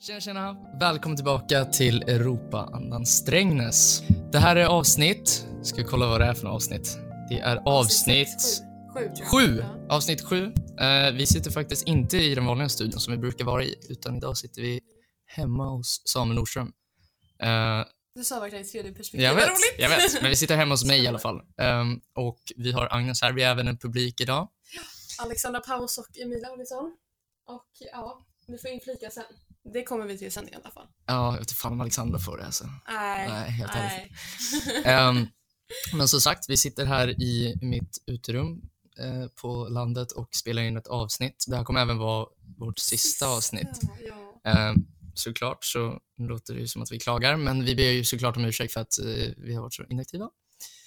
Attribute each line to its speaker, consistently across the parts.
Speaker 1: Tjena tjena! Välkommen tillbaka till Europaandan Strängnäs. Det här är avsnitt, ska vi kolla vad det är för avsnitt. Det är avsnitt
Speaker 2: Sju, tror jag.
Speaker 1: sju.
Speaker 2: Ja.
Speaker 1: Avsnitt sju. Eh, vi sitter faktiskt inte i den vanliga studion som vi brukar vara i, utan idag sitter vi hemma hos Samuel Nordström. Eh,
Speaker 2: Du sa verkligen i tredje perspektiv.
Speaker 1: jag
Speaker 2: Vad
Speaker 1: vet,
Speaker 2: roligt.
Speaker 1: jag vet, men vi sitter hemma hos mig i alla fall. Ehm, och vi har Agnes här, vi är även en publik idag.
Speaker 2: Alexandra Paus och Emilia Olsson. Och ja, ni får inflika sen. Det kommer vi till sen i alla fall.
Speaker 1: Ja, jag vet inte fan om Alexandra får det alltså.
Speaker 2: Nej,
Speaker 1: Nej, helt ärligt.
Speaker 2: nej.
Speaker 1: Ehm, men som sagt, vi sitter här i mitt uterum eh, på landet och spelar in ett avsnitt. Det här kommer även vara vårt sista avsnitt.
Speaker 2: Ja.
Speaker 1: Ehm, såklart så låter det ju som att vi klagar, men vi ber ju såklart om ursäkt för att eh, vi har varit så inaktiva.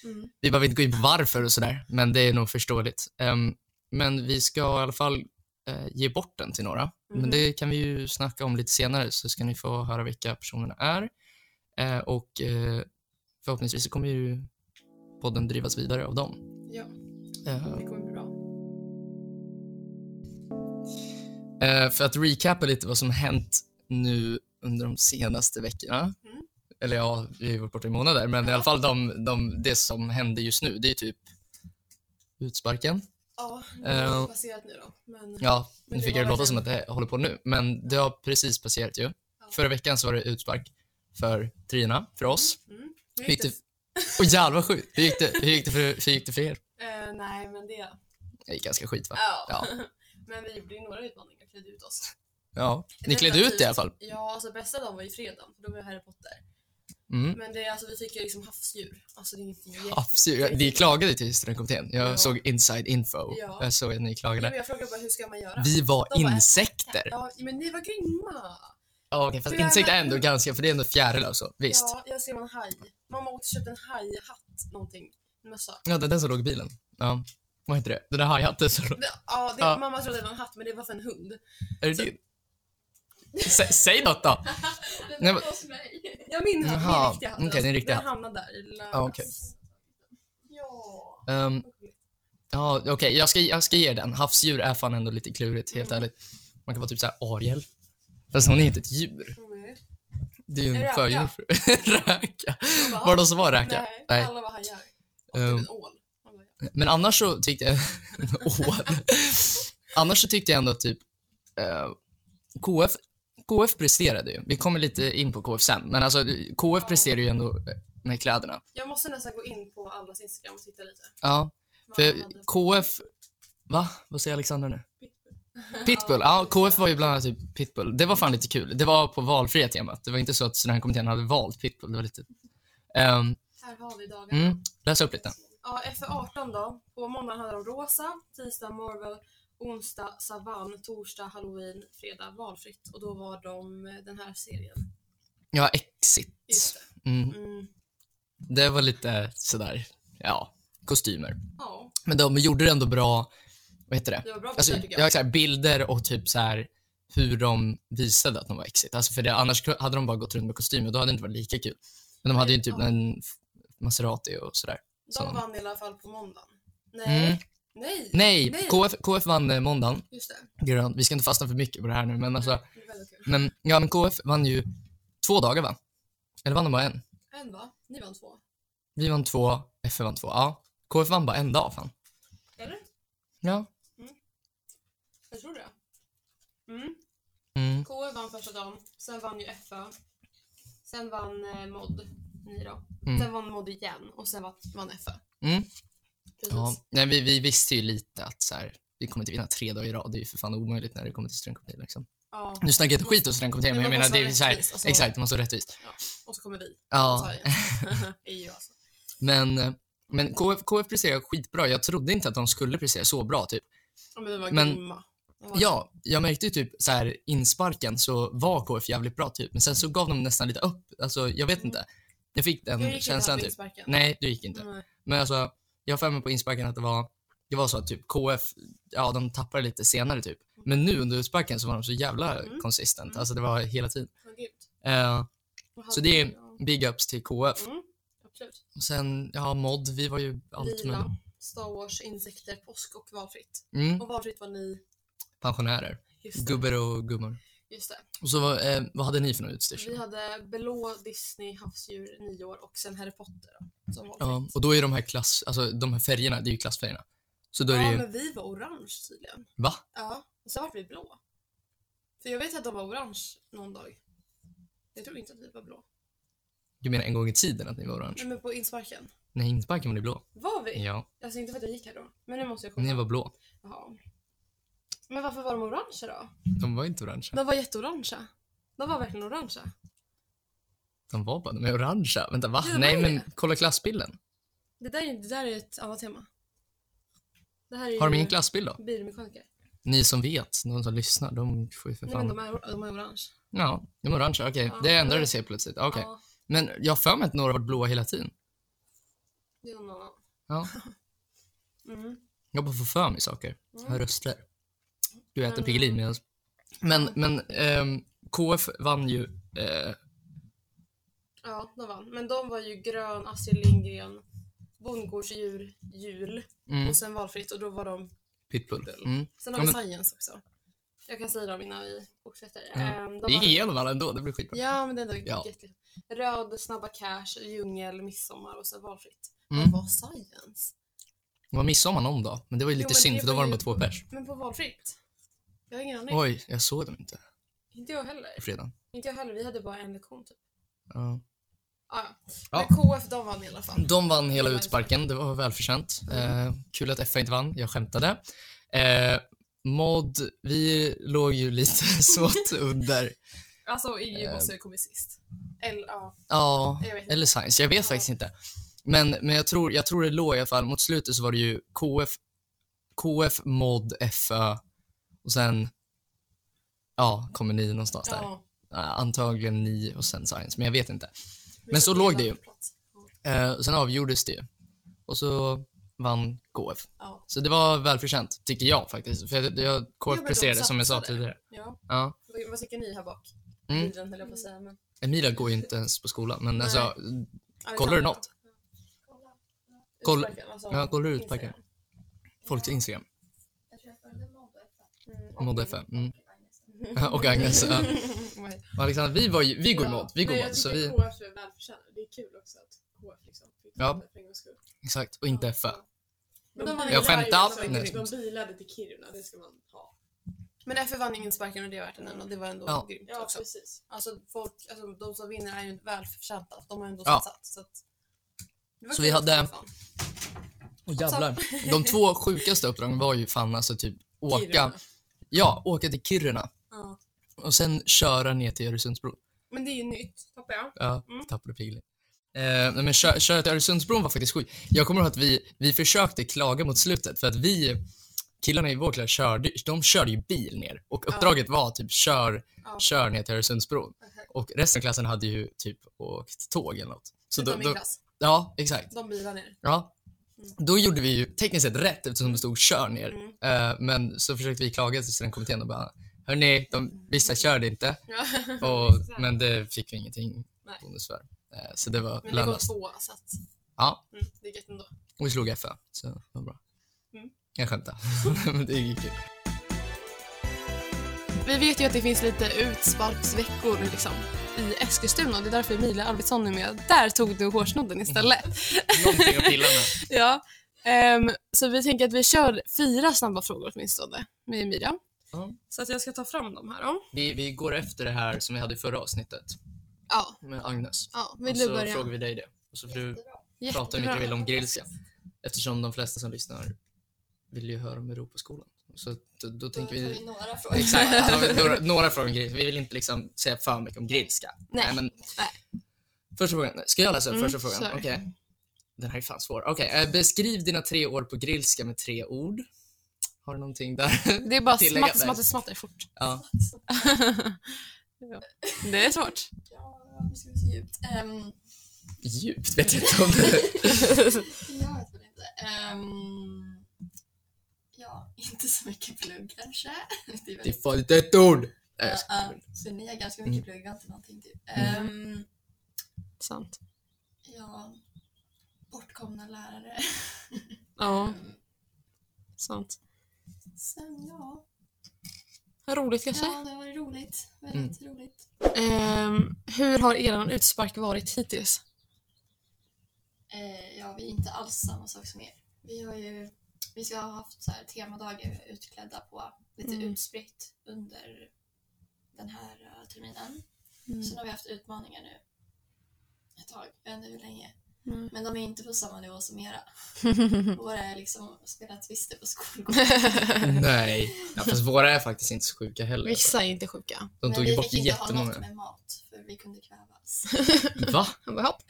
Speaker 2: Mm.
Speaker 1: Vi behöver inte gå in på varför och sådär, men det är nog förståeligt. Ehm, men vi ska i alla fall eh, ge bort den till några. Men
Speaker 2: Mhm.
Speaker 1: det kan vi ju snacka om lite senare, så ska ni få höra vilka personerna är. Eh, och eh, förhoppningsvis så kommer ju podden drivas vidare av dem.
Speaker 2: ja,
Speaker 1: Eh,
Speaker 2: det kommer bli bra.
Speaker 1: Eh, för att recapa lite vad som hänt nu under de senaste veckorna.
Speaker 2: Mm.
Speaker 1: Eller ja, vi har ju varit borta i månader, men i alla fall de, de, det som händer just nu, det är typ utsparken.
Speaker 2: Ja, det
Speaker 1: Eh,
Speaker 2: har passerat nu då. Men
Speaker 1: Ja,
Speaker 2: Men
Speaker 1: nu
Speaker 2: det
Speaker 1: fick
Speaker 2: var
Speaker 1: jag det låta
Speaker 2: verkligen-
Speaker 1: som att det håller på nu, men det har precis passerat ju. Förra veckan så var det utspark för Trina, för oss.
Speaker 2: mm, nu
Speaker 1: Hur gick det?
Speaker 2: det-
Speaker 1: Åh jävlar vad sjukt! Hur gick det, hur gick det, för, hur gick det för er?
Speaker 2: Eh, nej, men det...
Speaker 1: Det gick ganska skit va?
Speaker 2: Ja.
Speaker 1: Ja.
Speaker 2: men vi gjorde ju några utmaningar, klädde ut oss.
Speaker 1: Ja. Ni
Speaker 2: Detta
Speaker 1: klädde ut
Speaker 2: typ-
Speaker 1: det i alla fall.
Speaker 2: Ja, alltså bästa dagen var ju fredagen, för då var jag Harry Potter.
Speaker 1: Mm.
Speaker 2: Men det, är alltså, vi fick ju liksom havsdjur. Alltså det är inget jätte...
Speaker 1: Absolut. Jag- Ni klagade till strandkommittén. Jag
Speaker 2: Ja.
Speaker 1: såg inside info.
Speaker 2: Ja.
Speaker 1: Jag såg att ni
Speaker 2: Jo,
Speaker 1: klagade.
Speaker 2: jag frågade bara hur ska man göra?
Speaker 1: Vi var
Speaker 2: De bara,
Speaker 1: insekter.
Speaker 2: Ja, men ni var grymma!
Speaker 1: Ja, okej, fast
Speaker 2: Hur är
Speaker 1: insekter är
Speaker 2: det?
Speaker 1: ändå ganska, för det är ändå fjärilar och så. Visst.
Speaker 2: Ja, jag ser en haj. Mamma åkte och köpte en hajhatt, någonting. En mössa.
Speaker 1: Ja, den, den som låg i bilen. Ja. Vad heter det? Den där hi-hatten som låg...
Speaker 2: Det, ja, det,
Speaker 1: Ja.
Speaker 2: Mamma trodde det var en hatt, men det var för en hund.
Speaker 1: Är det din? Sä, säg något då!
Speaker 2: Den
Speaker 1: Nej, var men-
Speaker 2: hos mig. Ja, min hatt.
Speaker 1: Jaha,
Speaker 2: Min riktiga hatt.
Speaker 1: okej, din riktiga
Speaker 2: den
Speaker 1: hatt.
Speaker 2: hamnade där i lördags.
Speaker 1: Ja, okej.
Speaker 2: Ja.
Speaker 1: Ehm, Ja, okej. Jag, ska, jag ska ge er den. Havsdjur är fan ändå lite klurigt, helt
Speaker 2: Mm.
Speaker 1: ärligt. Man kan vara typ såhär Ariel. Fast hon är inte ett djur.
Speaker 2: Mm.
Speaker 1: Det är ju en
Speaker 2: Räka.
Speaker 1: fördjur. räka.
Speaker 2: Bara,
Speaker 1: Var det de som var räka?
Speaker 2: Nej,
Speaker 1: Nej.
Speaker 2: alla var hajar. Och
Speaker 1: Ehm,
Speaker 2: typ en ål. Alla var hajar.
Speaker 1: Men annars så tyckte jag... Åh. annars så tyckte jag ändå att typ... eh, KF, KF presterade ju. Vi kommer lite in på KF sen. Men alltså, KF
Speaker 2: Ja.
Speaker 1: presterade ju ändå eh, med kläderna.
Speaker 2: Jag måste nästan gå in på allas Instagram och titta lite.
Speaker 1: Ja,
Speaker 2: Vad
Speaker 1: för
Speaker 2: de hade
Speaker 1: KF... Va? Vad säger Alexander nu? Pitbull.
Speaker 2: Ja,
Speaker 1: Ja, KF var ju bland annat typ Pitbull. Det var fan lite kul. Det var på valfria temat. Det var inte så att studentkommittén hade valt Pitbull. Det var lite... Ehm,
Speaker 2: Här har vi dagarna.
Speaker 1: mm, läs upp lite.
Speaker 2: Ja, F18 då. På måndagen hade de rosa, tisdag Marvel, onsdag Savan, torsdag Halloween, fredag valfritt. Och då var de eh, den här serien.
Speaker 1: Ja, Exit.
Speaker 2: Just
Speaker 1: Mm,
Speaker 2: det. Mm.
Speaker 1: det var lite sådär, ja, kostymer.
Speaker 2: Ja,
Speaker 1: Men de gjorde det ändå bra, vad heter det?
Speaker 2: det var bra
Speaker 1: Alltså,
Speaker 2: bilder tycker
Speaker 1: jag
Speaker 2: jag.
Speaker 1: har så här bilder och typ så här hur de visade att de var exit. Alltså för det, annars ku- hade de bara gått runt med kostymer, då hade det inte varit lika kul. Men de hade ju typ
Speaker 2: Ja.
Speaker 1: en f- Maserati och sådär.
Speaker 2: De
Speaker 1: så-
Speaker 2: vann i alla fall på måndagen. Nej,
Speaker 1: Mm.
Speaker 2: nej,
Speaker 1: Nej,
Speaker 2: Nej.
Speaker 1: KF, KF vann eh, måndagen.
Speaker 2: just det. Mm,
Speaker 1: Grönt. Vi ska inte fastna för mycket på det här nu, men alltså,
Speaker 2: Det är väldigt kul.
Speaker 1: men, ja, men KF vann ju två dagar va? Eller vann de bara en?
Speaker 2: En va? Ni vann två.
Speaker 1: Vi vann två, FF vann två. Ja, KF vann bara en dag fan.
Speaker 2: Eller?
Speaker 1: Ja.
Speaker 2: Jag tror det. Mm.
Speaker 1: Mm.
Speaker 2: KU vann första dagen, sen vann ju FA. Sen vann eh, MOD, ni då.
Speaker 1: Mm.
Speaker 2: Sen vann MOD igen och sen vann- vann FA.
Speaker 1: Mm.
Speaker 2: Precis.
Speaker 1: Ja, nej, vi, vi visste ju lite att så här, vi kommer inte vinna tre dagar i rad. Det är ju för fan omöjligt när det kommer till strömkommittén. Liksom.
Speaker 2: Ja.
Speaker 1: Nu snackar jag inte skit om strömkommittén, men jag
Speaker 2: Men
Speaker 1: menar
Speaker 2: man måste
Speaker 1: det är
Speaker 2: vara
Speaker 1: så här,
Speaker 2: rättvis, alltså.
Speaker 1: exakt, det måste vara rättvist.
Speaker 2: Och så kommer vi.
Speaker 1: Ja,
Speaker 2: EU alltså.
Speaker 1: men, eh, men KF, KF presterar skitbra. Jag trodde inte att de skulle prestera så bra. Typ.
Speaker 2: Ja, men vi var
Speaker 1: Men-
Speaker 2: grymma. Det var-
Speaker 1: Ja, jag märkte ju typ så här insparken så var KF jävligt bra typ, men sen så gav de nästan lite upp. Alltså, jag vet
Speaker 2: Mm.
Speaker 1: inte. Jag fick
Speaker 2: Jag
Speaker 1: den
Speaker 2: gick inte liksom.
Speaker 1: känslan
Speaker 2: på
Speaker 1: typ.
Speaker 2: insparken.
Speaker 1: Nej, det gick inte.
Speaker 2: Nej.
Speaker 1: Men alltså, jag har för mig på insparken att det var, det var så att typ KF, ja de tappade lite senare typ. Men nu under utsparken så var de så jävla
Speaker 2: Mm.
Speaker 1: konsistent.
Speaker 2: Mm.
Speaker 1: Alltså det var hela tiden.
Speaker 2: Vad grymt.
Speaker 1: Eh,
Speaker 2: Vad
Speaker 1: så
Speaker 2: hade
Speaker 1: det
Speaker 2: vi
Speaker 1: är
Speaker 2: då?
Speaker 1: big ups till KF.
Speaker 2: Mm, absolut.
Speaker 1: Och sen, ja mod, vi var ju allt
Speaker 2: Lila,
Speaker 1: men
Speaker 2: Star Wars, insekter, påsk och valfritt.
Speaker 1: mm,
Speaker 2: Och valfritt var ni...
Speaker 1: pensionärer.
Speaker 2: Just det.
Speaker 1: Gubbar och gummor.
Speaker 2: Just det.
Speaker 1: Och så vad, eh, vad hade ni för någon utstyrsel?
Speaker 2: Vi hade blå Disney, havsdjur, nyår och sen Harry Potter då, som var
Speaker 1: Ja, och då är de här klass, alltså de här färgerna, det är ju klassfärgerna. Så då är det
Speaker 2: ja,
Speaker 1: ju,
Speaker 2: men vi var orange tydligen.
Speaker 1: va?
Speaker 2: Ja, och sen vart vi blå. För jag vet att de var orange någon dag. Jag tror inte att vi var blå.
Speaker 1: Du menar en gång i tiden att ni var orange?
Speaker 2: Nej men på insparken.
Speaker 1: Nej, insparken var ni blå.
Speaker 2: Var vi?
Speaker 1: Ja,
Speaker 2: Alltså inte för att jag gick här då. Men nu måste jag kolla.
Speaker 1: ni var blå.
Speaker 2: Jaha. Men varför var de orangea då?
Speaker 1: De var inte orangea.
Speaker 2: De var jätteorangea. De var verkligen orangea.
Speaker 1: De var bara, de är orangea. Vänta, va?
Speaker 2: Ja, de
Speaker 1: Nej,
Speaker 2: är
Speaker 1: men
Speaker 2: det.
Speaker 1: kolla klassbilden.
Speaker 2: Det där, är- det där är ett annat tema. Det här är
Speaker 1: Har de
Speaker 2: ju
Speaker 1: ingen klassbild då?
Speaker 2: bilmekaniker.
Speaker 1: Ni som vet, de som lyssnar, de får ju för
Speaker 2: Nej men de
Speaker 1: fan...
Speaker 2: är, de är orange.
Speaker 1: Ja, de är orangea, okej.
Speaker 2: Ja.
Speaker 1: Det ändrades helt plötsligt. Okej.
Speaker 2: Ja,
Speaker 1: Men jag har för mig att några har varit blåa hela tiden.
Speaker 2: det är någon annan.
Speaker 1: Ja.
Speaker 2: Mm.
Speaker 1: Jag bara får för mig saker. Jag har
Speaker 2: Mm.
Speaker 1: röster. Du äter
Speaker 2: Men-
Speaker 1: Piggelin medan... Men, men ehm, KF vann ju... Eh,
Speaker 2: Ja, de vann. Men de var ju grön, Astrid Lindgren, bondgårdsdjur, jul
Speaker 1: mm,
Speaker 2: och sen valfritt och då var de
Speaker 1: pitbull. Mm.
Speaker 2: Sen har
Speaker 1: Ja,
Speaker 2: vi science också. Jag kan säga dem innan vi fortsätter.
Speaker 1: Ja.
Speaker 2: Ehm,
Speaker 1: Det
Speaker 2: de
Speaker 1: gick
Speaker 2: har...
Speaker 1: igenom alla ändå, det blir skitbra.
Speaker 2: Ja, men det är ändå
Speaker 1: Ja.
Speaker 2: jättelätt. Röd, Snabba Cash, Djungel, Midsommar och sen valfritt.
Speaker 1: Mm.
Speaker 2: Vad var science?
Speaker 1: Det var midsommar någon dag, men det var ju
Speaker 2: Jo,
Speaker 1: lite
Speaker 2: men
Speaker 1: synd
Speaker 2: det
Speaker 1: för då
Speaker 2: var
Speaker 1: var de
Speaker 2: ju-
Speaker 1: bara två pers.
Speaker 2: Men på valfritt? Jag har ingen aning.
Speaker 1: Oj, jag såg dem inte
Speaker 2: Inte jag heller.
Speaker 1: på fredagen.
Speaker 2: Inte jag heller. Vi hade bara en lektion typ.
Speaker 1: Ja.
Speaker 2: Ah, ja.
Speaker 1: Ja.
Speaker 2: Men KF, de vann i alla fall.
Speaker 1: De vann hela utsparken, det var välförtjänt. Eh, kul att FA inte vann, jag skämtade. Eh, Mod, vi låg ju lite svårt under.
Speaker 2: Alltså, EU
Speaker 1: Ehm.
Speaker 2: måste ha kommit sist. Eller ja,
Speaker 1: Ja,
Speaker 2: jag vet inte.
Speaker 1: eller Science, jag vet
Speaker 2: Ja.
Speaker 1: faktiskt inte. Men, men jag, tror, jag tror det låg i alla fall, mot slutet så var det ju KF, KF Mod, FA och sen, ja, kommer ni någonstans där.
Speaker 2: Ja,
Speaker 1: Eh, Antagligen ni och sen Science, men jag vet inte.
Speaker 2: vi
Speaker 1: Men så
Speaker 2: satt
Speaker 1: låg
Speaker 2: på
Speaker 1: det ju.
Speaker 2: andra plats.
Speaker 1: Eh, och sen avgjordes det ju. Och så vann KF.
Speaker 2: Ja.
Speaker 1: Så det var välförtjänt, tycker jag faktiskt. För jag, jag,
Speaker 2: men
Speaker 1: KF
Speaker 2: de
Speaker 1: presterade som jag sa
Speaker 2: satsade.
Speaker 1: tidigare.
Speaker 2: ja.
Speaker 1: Ja.
Speaker 2: Vad- Vad tycker ni här bak?
Speaker 1: Mm.
Speaker 2: Bilen höll jag på att säga. Men...
Speaker 1: Emilia går ju inte ens på skolan, men
Speaker 2: Nej.
Speaker 1: alltså,
Speaker 2: Ja, vi
Speaker 1: Kollar du
Speaker 2: samlar.
Speaker 1: något? Koll-
Speaker 2: Utsparken, alltså,
Speaker 1: ja, kollar du
Speaker 2: Instagram.
Speaker 1: utpacken? Folks Instagram,
Speaker 3: Jag tror jag följde Modde FM.
Speaker 2: Mm.
Speaker 1: Mod FM. Mm. och Agnes. Ja.
Speaker 2: Nej.
Speaker 1: Och Alexander, vi, var ju, vi går
Speaker 2: Ja,
Speaker 1: emot. Vi går
Speaker 2: men jag
Speaker 1: emot. Så
Speaker 2: tycker
Speaker 1: vi,
Speaker 2: KF är välförtjänt. Det är kul också att KF liksom fick
Speaker 1: Ja.
Speaker 2: det för en gångs skull.
Speaker 1: exakt, och inte FA.
Speaker 2: Men
Speaker 4: De
Speaker 2: de vann
Speaker 1: Jag
Speaker 2: ju
Speaker 1: skämtar.
Speaker 2: varje-
Speaker 4: bilade-
Speaker 1: Nej,
Speaker 4: De bilade till Kiruna, det ska man ha.
Speaker 2: Men FF vann ingen sparken och det är värt att nämna. Det var ändå
Speaker 1: Ja.
Speaker 2: grymt
Speaker 4: Ja,
Speaker 2: också.
Speaker 4: precis.
Speaker 2: Alltså folk, alltså de som vinner är ju välförtjänta. De har ju ändå
Speaker 1: Ja.
Speaker 2: satsat. Så, att... Det var
Speaker 1: Så vi
Speaker 2: kul
Speaker 1: hade-
Speaker 2: i alla fall.
Speaker 1: Och jävlar. De två sjukaste uppdragen var ju fan alltså typ åka,
Speaker 2: Alltså- Kiruna.
Speaker 1: ja, åka till Kiruna
Speaker 2: Ja.
Speaker 1: och sen köra ner till Öresundsbron.
Speaker 2: Men det är ju nytt, tappar jag.
Speaker 1: Ja,
Speaker 2: Mm.
Speaker 1: tappade pilen. Eh, nej, men kö- köret till Öresundsbron var faktiskt sjukt. Jag kommer ihåg att vi, vi försökte klaga mot slutet för att vi, killarna i vår klass körde, de körde ju bil ner och uppdraget var typ kör,
Speaker 2: Ja.
Speaker 1: kör ner till Öresundsbron.
Speaker 2: Okej.
Speaker 1: Och resten av klassen hade ju typ åkt tåg eller något. Så
Speaker 2: Utan
Speaker 1: då,
Speaker 2: min
Speaker 1: då,
Speaker 2: klass.
Speaker 1: ja, exakt.
Speaker 2: De bilar ner.
Speaker 1: Ja.
Speaker 2: Mm.
Speaker 1: Då gjorde vi ju tekniskt sett rätt eftersom det stod kör ner.
Speaker 2: Mm.
Speaker 1: Eh, men så försökte vi klaga tills den kommittén och bara, hörni, de, vissa körde inte.
Speaker 2: Ja.
Speaker 1: Och, men det fick vi ingenting
Speaker 2: Nej.
Speaker 1: bonus för. Eh, Så det var
Speaker 2: Men det går
Speaker 1: lönlöst.
Speaker 2: tvåa så att
Speaker 1: Ja,
Speaker 2: mm, det är gött ändå.
Speaker 1: och vi slog FA, så det var bra.
Speaker 2: Mm.
Speaker 1: Jag skämtar. men det gick kul.
Speaker 2: Vi vet ju att det finns lite utsparksveckor liksom, i Eskilstuna och det är därför Emilia Arvidsson är med. Där tog du hårsnodden istället.
Speaker 1: Någonting att pilla med.
Speaker 2: ja. Ehm, så vi tänker att vi kör fyra snabba frågor åtminstone med Emilia.
Speaker 1: Ja.
Speaker 2: Så att jag ska ta fram dem här då.
Speaker 1: Vi, vi går efter det här som vi hade i förra avsnittet
Speaker 2: Ja,
Speaker 1: med Agnes.
Speaker 2: ja
Speaker 1: och
Speaker 2: vill
Speaker 1: så
Speaker 2: du börja?
Speaker 1: frågar vi dig det. Och så får du
Speaker 3: Jättebra.
Speaker 1: prata hur mycket du vill
Speaker 2: Jättebra.
Speaker 1: om grillska. Eftersom de flesta som lyssnar vill ju höra om Europaskolan. Så att då, då tänker
Speaker 3: Då tar
Speaker 1: vi...
Speaker 3: vi några frågor.
Speaker 1: Exakt, Alltså, då har vi några, några frågor om grillska. Vi vill inte liksom säga för mycket om grillska.
Speaker 2: Nej.
Speaker 1: men...
Speaker 2: Nej.
Speaker 1: Första frågan. Ska jag läsa
Speaker 2: Mm,
Speaker 1: första frågan?
Speaker 2: kör.
Speaker 1: Okej. Den här är fan svår. Okej, eh, beskriv dina tre år på grillska med tre ord. Har du någonting där?
Speaker 2: Det är bara
Speaker 1: Tillägga
Speaker 2: smatter,
Speaker 1: där.
Speaker 2: smatter, smatter fort.
Speaker 1: Ja.
Speaker 2: ja. Det är svårt.
Speaker 3: Ja, nu ska vi se djupt. Ehm,
Speaker 1: Djupt vet jag inte om det
Speaker 3: jag vet väl inte. Ehm, ja, inte så mycket plugg kanske. Det är
Speaker 1: Det är
Speaker 3: väl,
Speaker 1: fan inte ett ord! Nej, jag
Speaker 3: Ja,
Speaker 1: skojar.
Speaker 3: ja. så ni har ganska
Speaker 1: Mm.
Speaker 3: mycket plugg, jag har inte någonting typ. Ehm,
Speaker 2: Sant.
Speaker 3: ja, bortkomna lärare.
Speaker 2: Ja, sant.
Speaker 3: Sen ja,
Speaker 2: Roligt kanske?
Speaker 3: Ja, det har varit roligt. Väldigt
Speaker 1: Mm.
Speaker 3: roligt.
Speaker 2: Ehm, hur har eran utspark varit hittills?
Speaker 3: Eh, ja, vi är inte alls samma sak som er. Vi har ju, vi ska ha haft så här temadagar utklädda på lite
Speaker 2: Mm.
Speaker 3: utspritt under den här eh, terminen.
Speaker 2: Mm.
Speaker 3: Sen har vi haft utmaningar nu ett tag, jag vet inte hur länge.
Speaker 2: Mm.
Speaker 3: Men de är inte på samma nivå som era. Våra är liksom spela twister på skolgården.
Speaker 1: Nej. Ja, fast våra är faktiskt inte så sjuka heller. alltså.
Speaker 2: Vissa är inte sjuka.
Speaker 1: De
Speaker 3: Men
Speaker 1: tog ju
Speaker 3: vi
Speaker 1: bort
Speaker 3: fick inte ha något
Speaker 1: jättemånga.
Speaker 3: med mat för vi kunde kvävas.
Speaker 1: Va?
Speaker 2: Han bara, hopp.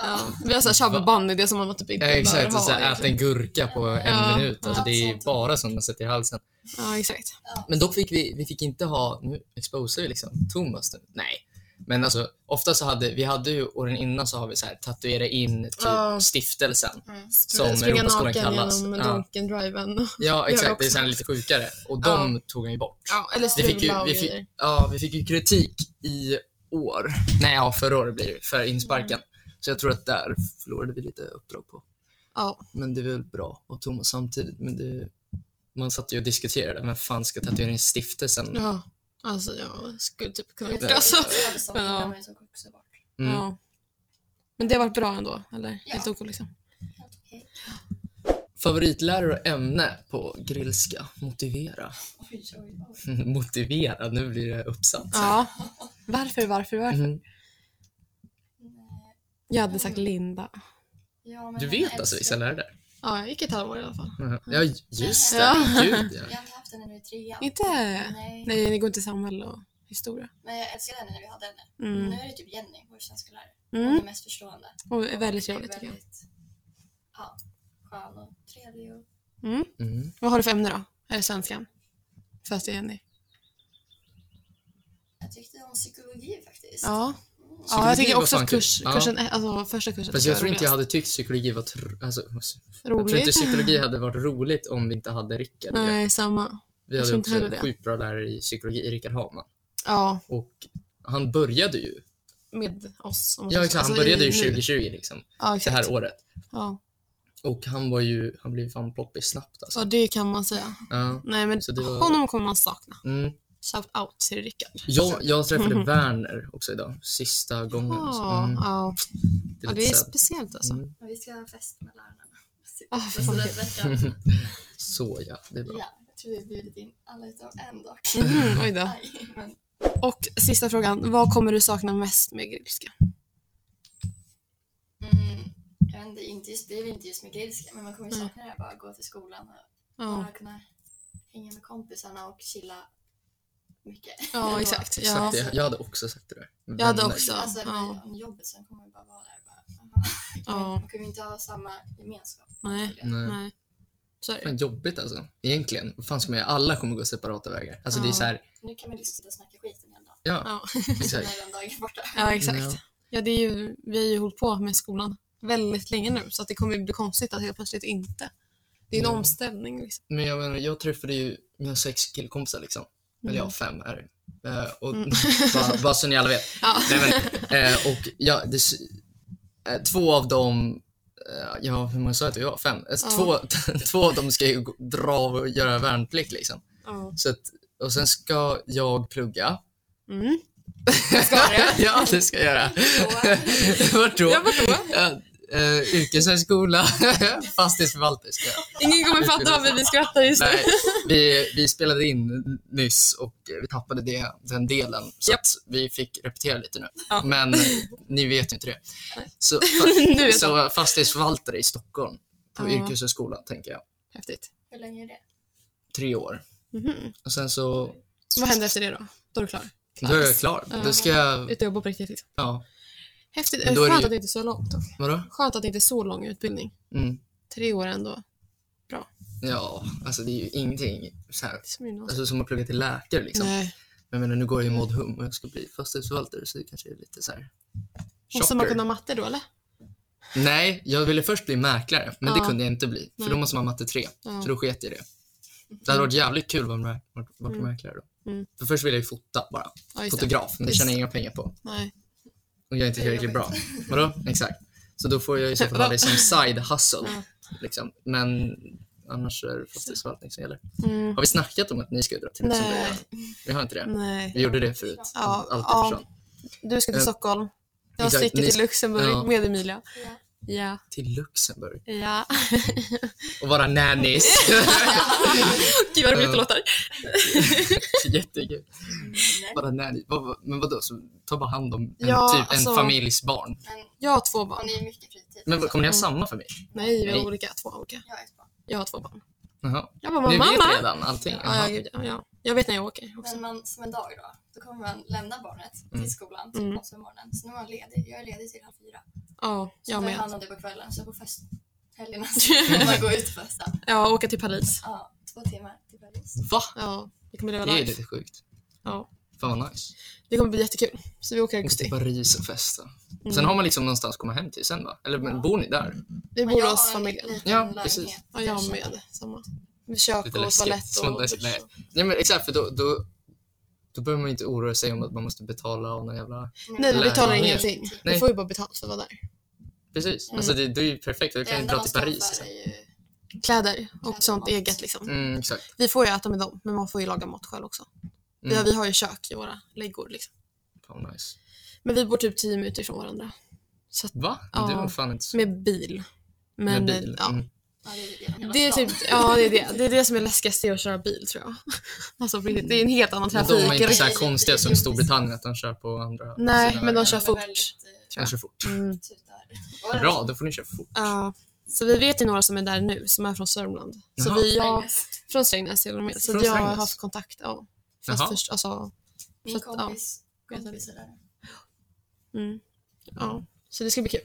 Speaker 3: Ja.
Speaker 2: Ja. Vi har såhär shabbaband, det är som man typ inte
Speaker 1: Ja,
Speaker 2: bör
Speaker 1: exakt.
Speaker 2: ha.
Speaker 1: Så här, äta en gurka på en
Speaker 2: Ja.
Speaker 1: minut. Alltså,
Speaker 3: Ja,
Speaker 1: det är
Speaker 3: sånt.
Speaker 1: bara sånt man sätter i halsen.
Speaker 2: Ja, exakt.
Speaker 1: Men dock fick vi, vi fick inte ha, nu exposar vi liksom Thomas nu. Nej. Men alltså ofta så hade, vi hade ju åren innan så har vi så här tatuera in typ
Speaker 2: Ja.
Speaker 1: stiftelsen.
Speaker 3: Mm.
Speaker 1: Som
Speaker 2: Springa
Speaker 1: Europaskolan
Speaker 2: naken
Speaker 1: kallas.
Speaker 2: genom
Speaker 1: Ja.
Speaker 2: Donken-driven.
Speaker 1: Ja
Speaker 2: Det har
Speaker 1: exakt,
Speaker 2: vi
Speaker 1: det är
Speaker 2: också.
Speaker 1: så här lite sjukare. Och de tog han ju bort.
Speaker 2: Ja, eller
Speaker 1: Vi fick, ju,
Speaker 2: strula och
Speaker 1: vi, fick,
Speaker 2: grejer.
Speaker 1: ja, vi fick ju kritik i år. Nej, ja, förra året blir det för insparken. Så jag tror att där förlorade vi lite uppdrag på.
Speaker 2: Ja.
Speaker 1: Men det är väl bra och Thomas samtidigt. Men det, man satt ju och diskuterade, vem fan ska tatuera in stiftelsen?
Speaker 2: ja. Alltså jag skulle typ kunna gjort
Speaker 3: Det
Speaker 2: det. Alltså.
Speaker 3: är sånt,
Speaker 2: Men,
Speaker 3: det
Speaker 2: ja.
Speaker 3: kan man ju så också bort.
Speaker 1: Mm.
Speaker 2: Ja. Men det har varit bra ändå, eller?
Speaker 3: Ja.
Speaker 2: Helt ok liksom.
Speaker 3: Helt okej.
Speaker 1: Favoritlärare och ämne på grillska? Motivera.
Speaker 3: Oj, oj, oj.
Speaker 1: Motivera, nu blir det uppsatt.
Speaker 2: Ja. Varför, varför, varför?
Speaker 1: Mm.
Speaker 3: Nej.
Speaker 2: Jag hade sagt Linda.
Speaker 3: Ja, men
Speaker 1: Du
Speaker 2: Mm.
Speaker 3: jag
Speaker 1: vet
Speaker 3: älskar-
Speaker 1: alltså vissa lärare där?
Speaker 2: Ja, jag gick ett halvår i alla fall.
Speaker 1: Mhm. Ja, just det.
Speaker 2: Mm. Ja.
Speaker 1: Gud ja.
Speaker 3: Jag har inte haft henne nu i trean.
Speaker 2: Inte?
Speaker 3: Nej.
Speaker 2: Nej, ni går inte i samhälle och historia.
Speaker 3: Men jag älskade henne när vi hade henne. Nu
Speaker 2: Mm.
Speaker 3: är det typ Jenny, vår svenska lärare. Hon
Speaker 2: Mm.
Speaker 3: är mest förstående.
Speaker 2: Och är väldigt
Speaker 3: Hon är
Speaker 2: trevligt tycker jag.
Speaker 3: väldigt, Ja, skön och trevlig. Och...
Speaker 2: Mm.
Speaker 1: Mm.
Speaker 2: Vad har du för ämne då? Är det svenskan? Fast det är Jenny.
Speaker 3: Jag tyckte om psykologi faktiskt.
Speaker 2: Ja.
Speaker 3: Mm.
Speaker 2: ja,
Speaker 1: Psykologi
Speaker 2: jag tycker
Speaker 1: var
Speaker 2: också
Speaker 1: fan
Speaker 2: att kurs,
Speaker 1: kul. Ja.
Speaker 2: kursen, alltså första kursen
Speaker 1: Fast jag tror inte jag hade
Speaker 2: roligast.
Speaker 1: tyckt psykologi var tr- alltså, Jag tror
Speaker 2: roligt.
Speaker 1: inte psykologi hade varit roligt om vi inte hade Rickard. i det.
Speaker 2: Nej, samma.
Speaker 1: vi
Speaker 2: jag
Speaker 1: hade
Speaker 2: tror inte
Speaker 1: också
Speaker 2: heller
Speaker 1: en
Speaker 2: det.
Speaker 1: sjukt bra lärare i psykologi, Rickard Hagman.
Speaker 2: Ja,
Speaker 1: Och han började ju,
Speaker 2: med oss. om man
Speaker 1: ja,
Speaker 2: säger så.
Speaker 1: exakt, han
Speaker 2: Alltså,
Speaker 1: började ju
Speaker 2: i- nu.
Speaker 1: 2020 liksom,
Speaker 2: Ja,
Speaker 1: det
Speaker 2: exakt.
Speaker 1: här året.
Speaker 2: Ja.
Speaker 1: Och han var ju, han blev ju fan ploppis snabbt alltså.
Speaker 2: ja, det kan man säga.
Speaker 1: Ja.
Speaker 2: Nej, men
Speaker 1: Så det var-
Speaker 2: honom kommer man sakna.
Speaker 1: Mm.
Speaker 2: Shout out till Rickard.
Speaker 1: Jag, jag träffade
Speaker 2: Mhm.
Speaker 1: Werner också idag, sista gången.
Speaker 2: Ja,
Speaker 1: Mm.
Speaker 2: ja.
Speaker 1: Det
Speaker 2: ja,
Speaker 1: är
Speaker 2: det är
Speaker 1: lite sad.
Speaker 2: speciellt alltså.
Speaker 1: Mm.
Speaker 3: Men Vi ska ha fest med lärarna.
Speaker 2: Ah,
Speaker 3: Alltså,
Speaker 2: fan.
Speaker 3: den veckan.
Speaker 1: Så ja, det är bra.
Speaker 3: Ja, jag tror vi har bjudit in alla utom en dock.
Speaker 2: Mhm, oj då.
Speaker 3: Aj, men
Speaker 2: Och sista frågan, vad kommer du sakna mest med grillska?
Speaker 3: Mm, jag vet inte, inte just, det är väl inte just med grekiska, men man kommer ju
Speaker 2: Nej.
Speaker 3: sakna det här bara att gå till skolan och
Speaker 2: Ja,
Speaker 3: bara kunna hänga med kompisarna och chilla mycket.
Speaker 2: ja exakt. Ja.
Speaker 1: Exakt, jag, jag hade också sagt det där.
Speaker 2: Jag hade
Speaker 1: Werner.
Speaker 2: också.
Speaker 3: Alltså
Speaker 2: Ja.
Speaker 3: med- om jobbet sen kommer man bara vara där och bara, aha.
Speaker 2: Ja.
Speaker 3: Man kommer ju inte ha samma gemenskap.
Speaker 2: Nej.
Speaker 3: skulle jag-
Speaker 1: Nej.
Speaker 2: Nej. Så är det.
Speaker 1: Fan jobbigt alltså. Egentligen. Vad fan ska man göra? Alla kommer gå separata vägar. Alltså det är
Speaker 2: Ja.
Speaker 1: så här,
Speaker 3: Nu kan man liksom sitta och snacka skit en hel dag.
Speaker 1: ja,
Speaker 2: Ja.
Speaker 3: Sen
Speaker 1: exakt.
Speaker 3: är den dagen borta.
Speaker 2: ja,
Speaker 1: Ja.
Speaker 2: exakt. Ja, det är ju, vi har ju hållit på med skolan väldigt länge nu så att det kommer ju bli konstigt att helt plötsligt inte. Det är en
Speaker 1: Mm.
Speaker 2: omställning. Liksom.
Speaker 1: Men jag menar, jag träffade ju mina sex killkompisar liksom. Eller ja, fem är det. Eh, och
Speaker 2: Mm.
Speaker 1: bara, bara så ni alla vet.
Speaker 2: Ja.
Speaker 1: Nej, men, eh, och ja, det, s- eh, två av dem, eh, ja hur många sa jag att vi var? Fem? Eh,
Speaker 2: Ja.
Speaker 1: Två, två av dem ska ju gå- dra och göra värnplikt liksom.
Speaker 2: Ja.
Speaker 1: Så att, och sen ska jag plugga.
Speaker 2: Mm.
Speaker 1: ja, det ska jag göra. Vart då?
Speaker 2: Ja, vart då?
Speaker 1: Ja, eh, yrkeshögskola, fastighetsförvaltare ska jag.
Speaker 2: Ingen kommer fatta vad vi- vi skrattar just nu.
Speaker 1: Nej, vi, vi spelade in nyss och vi tappade det, den delen. Så att vi fick repetera lite nu.
Speaker 2: Ja.
Speaker 1: Men eh, ni vet ju inte det. Så,
Speaker 2: Nu vet
Speaker 1: så fastighetsförvaltare i Stockholm på
Speaker 2: Ja.
Speaker 1: yrkeshögskola, tänker jag.
Speaker 2: Häftigt.
Speaker 3: Hur länge är det?
Speaker 1: Tre år.
Speaker 2: Mhm.
Speaker 1: Och sen så,
Speaker 2: Vad händer efter det då? Då är du klar?
Speaker 1: då är jag klar. Då ska jag,
Speaker 2: Ut och jobba på riktigt liksom.
Speaker 1: ja,
Speaker 2: Häftigt.
Speaker 1: Men då är det
Speaker 2: Skönt
Speaker 1: ju-
Speaker 2: att det inte är så långt. dock.
Speaker 1: vadå?
Speaker 2: Skönt att det inte är så lång utbildning.
Speaker 1: Mm.
Speaker 2: Tre år ändå.
Speaker 1: Ja, alltså det är ju ingenting så här,
Speaker 2: Det är som gymnasiet.
Speaker 1: alltså, som att plugga till läkare liksom.
Speaker 2: Nej.
Speaker 1: Men jag menar, nu går jag i mod hum och jag ska bli fastighetsförvaltare så det kanske är lite så här.
Speaker 2: Måste man
Speaker 1: shocker.
Speaker 2: kunna matte då eller?
Speaker 1: Nej, jag ville först bli mäklare, men det
Speaker 2: Ja.
Speaker 1: kunde jag inte bli. För
Speaker 2: Nej.
Speaker 1: då måste man ha matte 3,
Speaker 2: Ja.
Speaker 1: så då sket jag i det. Det hade varit jävligt kul att vara mä- vart- vart
Speaker 2: Mm.
Speaker 1: mäklare då.
Speaker 2: Mm.
Speaker 1: För först ville jag ju fota bara,
Speaker 2: Ja, just det.
Speaker 1: fotograf, men det
Speaker 2: Just
Speaker 1: tjänar jag inga pengar på.
Speaker 2: Nej.
Speaker 1: Och jag är inte
Speaker 3: Det är
Speaker 1: tillräckligt bra. Vadå? Exakt. Så då får jag i så fall ha det som side hustle.
Speaker 2: Ja.
Speaker 1: Liksom. Men annars är det fastighetsförvaltning som gäller.
Speaker 2: Mm.
Speaker 1: Har vi snackat om att ni ska dra till
Speaker 2: Nej.
Speaker 1: Luxemburg? Vi har inte det?
Speaker 2: Nej.
Speaker 1: Vi gjorde det förut.
Speaker 2: Ja,
Speaker 1: Allt
Speaker 2: ja.
Speaker 1: försvann.
Speaker 2: Du ska till
Speaker 1: Eh,
Speaker 2: Stockholm. Jag
Speaker 1: exakt,
Speaker 2: sticker
Speaker 1: ni-
Speaker 2: till Luxemburg
Speaker 1: ja.
Speaker 2: med Emilia.
Speaker 3: Ja.
Speaker 2: Ja.
Speaker 1: Till Luxemburg?
Speaker 2: Ja.
Speaker 1: Och vara nannies.
Speaker 2: Gud vad roligt
Speaker 1: Ja.
Speaker 2: det låter.
Speaker 1: Jättekul.
Speaker 3: Mm.
Speaker 1: Bara nannies. Vad- vad- Men vadå, så ta bara hand om en,
Speaker 2: Ja,
Speaker 1: typ, en
Speaker 2: alltså-
Speaker 1: familjs barn?
Speaker 3: Men
Speaker 2: Jag har två
Speaker 3: har
Speaker 2: barn.
Speaker 3: ni mycket fritid?
Speaker 1: Men vad, kommer ni ha
Speaker 2: Mm.
Speaker 1: samma familj?
Speaker 2: Nej, vi
Speaker 1: Nej.
Speaker 2: har olika. Två olika.
Speaker 3: Jag är ett barn.
Speaker 2: Jag har två barn.
Speaker 1: Jaha.
Speaker 2: Jag bara,
Speaker 1: Ni
Speaker 2: mamma,
Speaker 1: vet
Speaker 2: mamma.
Speaker 1: redan allting?
Speaker 2: Ja,
Speaker 1: Jaha.
Speaker 2: ja, gud, ja, ja. Jag vet när jag åker också.
Speaker 3: Men man, som en dag då, då kommer man lämna barnet
Speaker 1: Mm.
Speaker 3: till skolan typ
Speaker 2: Mm.
Speaker 3: åtta på morgonen. Så nu är man ledig. Jag är ledig till halv fyra.
Speaker 2: Ja,
Speaker 3: Så
Speaker 2: jag
Speaker 3: tar jag
Speaker 2: med.
Speaker 3: hand om det på kvällen. Så på fest helgerna så får man gå ut på festen.
Speaker 2: Ja, åka till Paris.
Speaker 3: Ja, två timmar till Paris.
Speaker 1: Va?
Speaker 2: Ja, det kommer leva
Speaker 1: Det är
Speaker 2: life.
Speaker 1: lite sjukt.
Speaker 2: Ja.
Speaker 1: Fan vad nice.
Speaker 2: Det kommer bli jättekul. Så vi åker i
Speaker 1: Åka till
Speaker 2: augusti.
Speaker 1: Paris och festa.
Speaker 2: Mm.
Speaker 1: Sen har man liksom någonstans att komma hem till sen va? Eller men bor ni där?
Speaker 2: Vi
Speaker 3: Men
Speaker 2: bor
Speaker 3: jag
Speaker 2: hos
Speaker 3: har en
Speaker 2: familjen.
Speaker 3: liten
Speaker 1: Ja,
Speaker 3: lägenhet.
Speaker 1: precis.
Speaker 2: Ja, jag med. Samma. Med kök
Speaker 1: Lite
Speaker 2: och
Speaker 1: läskigt.
Speaker 2: toalett
Speaker 1: Sånt
Speaker 2: och
Speaker 1: där-
Speaker 2: dusch.
Speaker 1: nej. Nej men exakt, för då, då, då behöver man inte oroa sig om att man måste betala av någon jävla...
Speaker 2: Nej, vi
Speaker 1: Nej,
Speaker 2: betalar
Speaker 1: nej.
Speaker 2: ingenting.
Speaker 1: Nej.
Speaker 2: Vi får ju bara betalt för att vara där.
Speaker 1: Precis,
Speaker 2: Mm.
Speaker 1: alltså det, det är ju perfekt. Du
Speaker 3: Det
Speaker 1: kan ju
Speaker 3: enda
Speaker 1: dra
Speaker 3: man
Speaker 1: till
Speaker 3: står
Speaker 1: Paris.
Speaker 3: för
Speaker 1: Liksom.
Speaker 3: är ju-
Speaker 2: Kläder
Speaker 3: Kläder
Speaker 2: och sånt
Speaker 3: och mat.
Speaker 2: eget liksom.
Speaker 1: Mm, exakt.
Speaker 2: Vi får ju äta med dem, men man får ju laga mat själv också.
Speaker 1: Mm.
Speaker 2: Ja, vi har ju kök i våra läggor liksom.
Speaker 1: Fan vad nice.
Speaker 2: Men vi bor typ 10 minuter från varandra. Så att,
Speaker 1: Va?
Speaker 2: Ja.
Speaker 1: Du var fan inte så...
Speaker 2: med bil. Men,
Speaker 1: med bil.
Speaker 2: eh, Ja,
Speaker 1: Mm.
Speaker 3: Ja, det är ju genom hela
Speaker 2: det är
Speaker 3: stan.
Speaker 2: typ, ja det är det. Det är det som är läskigast, det är att köra bil tror jag. Alltså på riktigt, det är en helt annan
Speaker 1: Men de är
Speaker 2: trafik.
Speaker 1: inte så här
Speaker 3: riktigt
Speaker 1: konstiga som
Speaker 3: jobbigt.
Speaker 1: Storbritannien att de kör på andra
Speaker 2: Nej,
Speaker 1: sina
Speaker 2: men de
Speaker 1: vägar.
Speaker 2: kör
Speaker 3: är
Speaker 2: fort.
Speaker 3: väldigt, eh,
Speaker 1: De kör fort.
Speaker 2: Mm.
Speaker 3: tutar.
Speaker 1: Bra, då får ni köra fort.
Speaker 2: Ja. Så vi vet ju några som är där nu, som är från Sörmland. Så
Speaker 1: Jaha.
Speaker 2: vi, jag,
Speaker 3: Agnes,
Speaker 2: från Strängnäs till och med. Så
Speaker 1: Från
Speaker 2: att jag har
Speaker 1: Strängnäs?
Speaker 2: haft kontakt. Ja. Fast
Speaker 1: Jaha.
Speaker 2: först, alltså,
Speaker 3: Min
Speaker 2: så att, ja.
Speaker 3: kompis, kompis är där.
Speaker 2: mm. ja. Så det ska bli kul.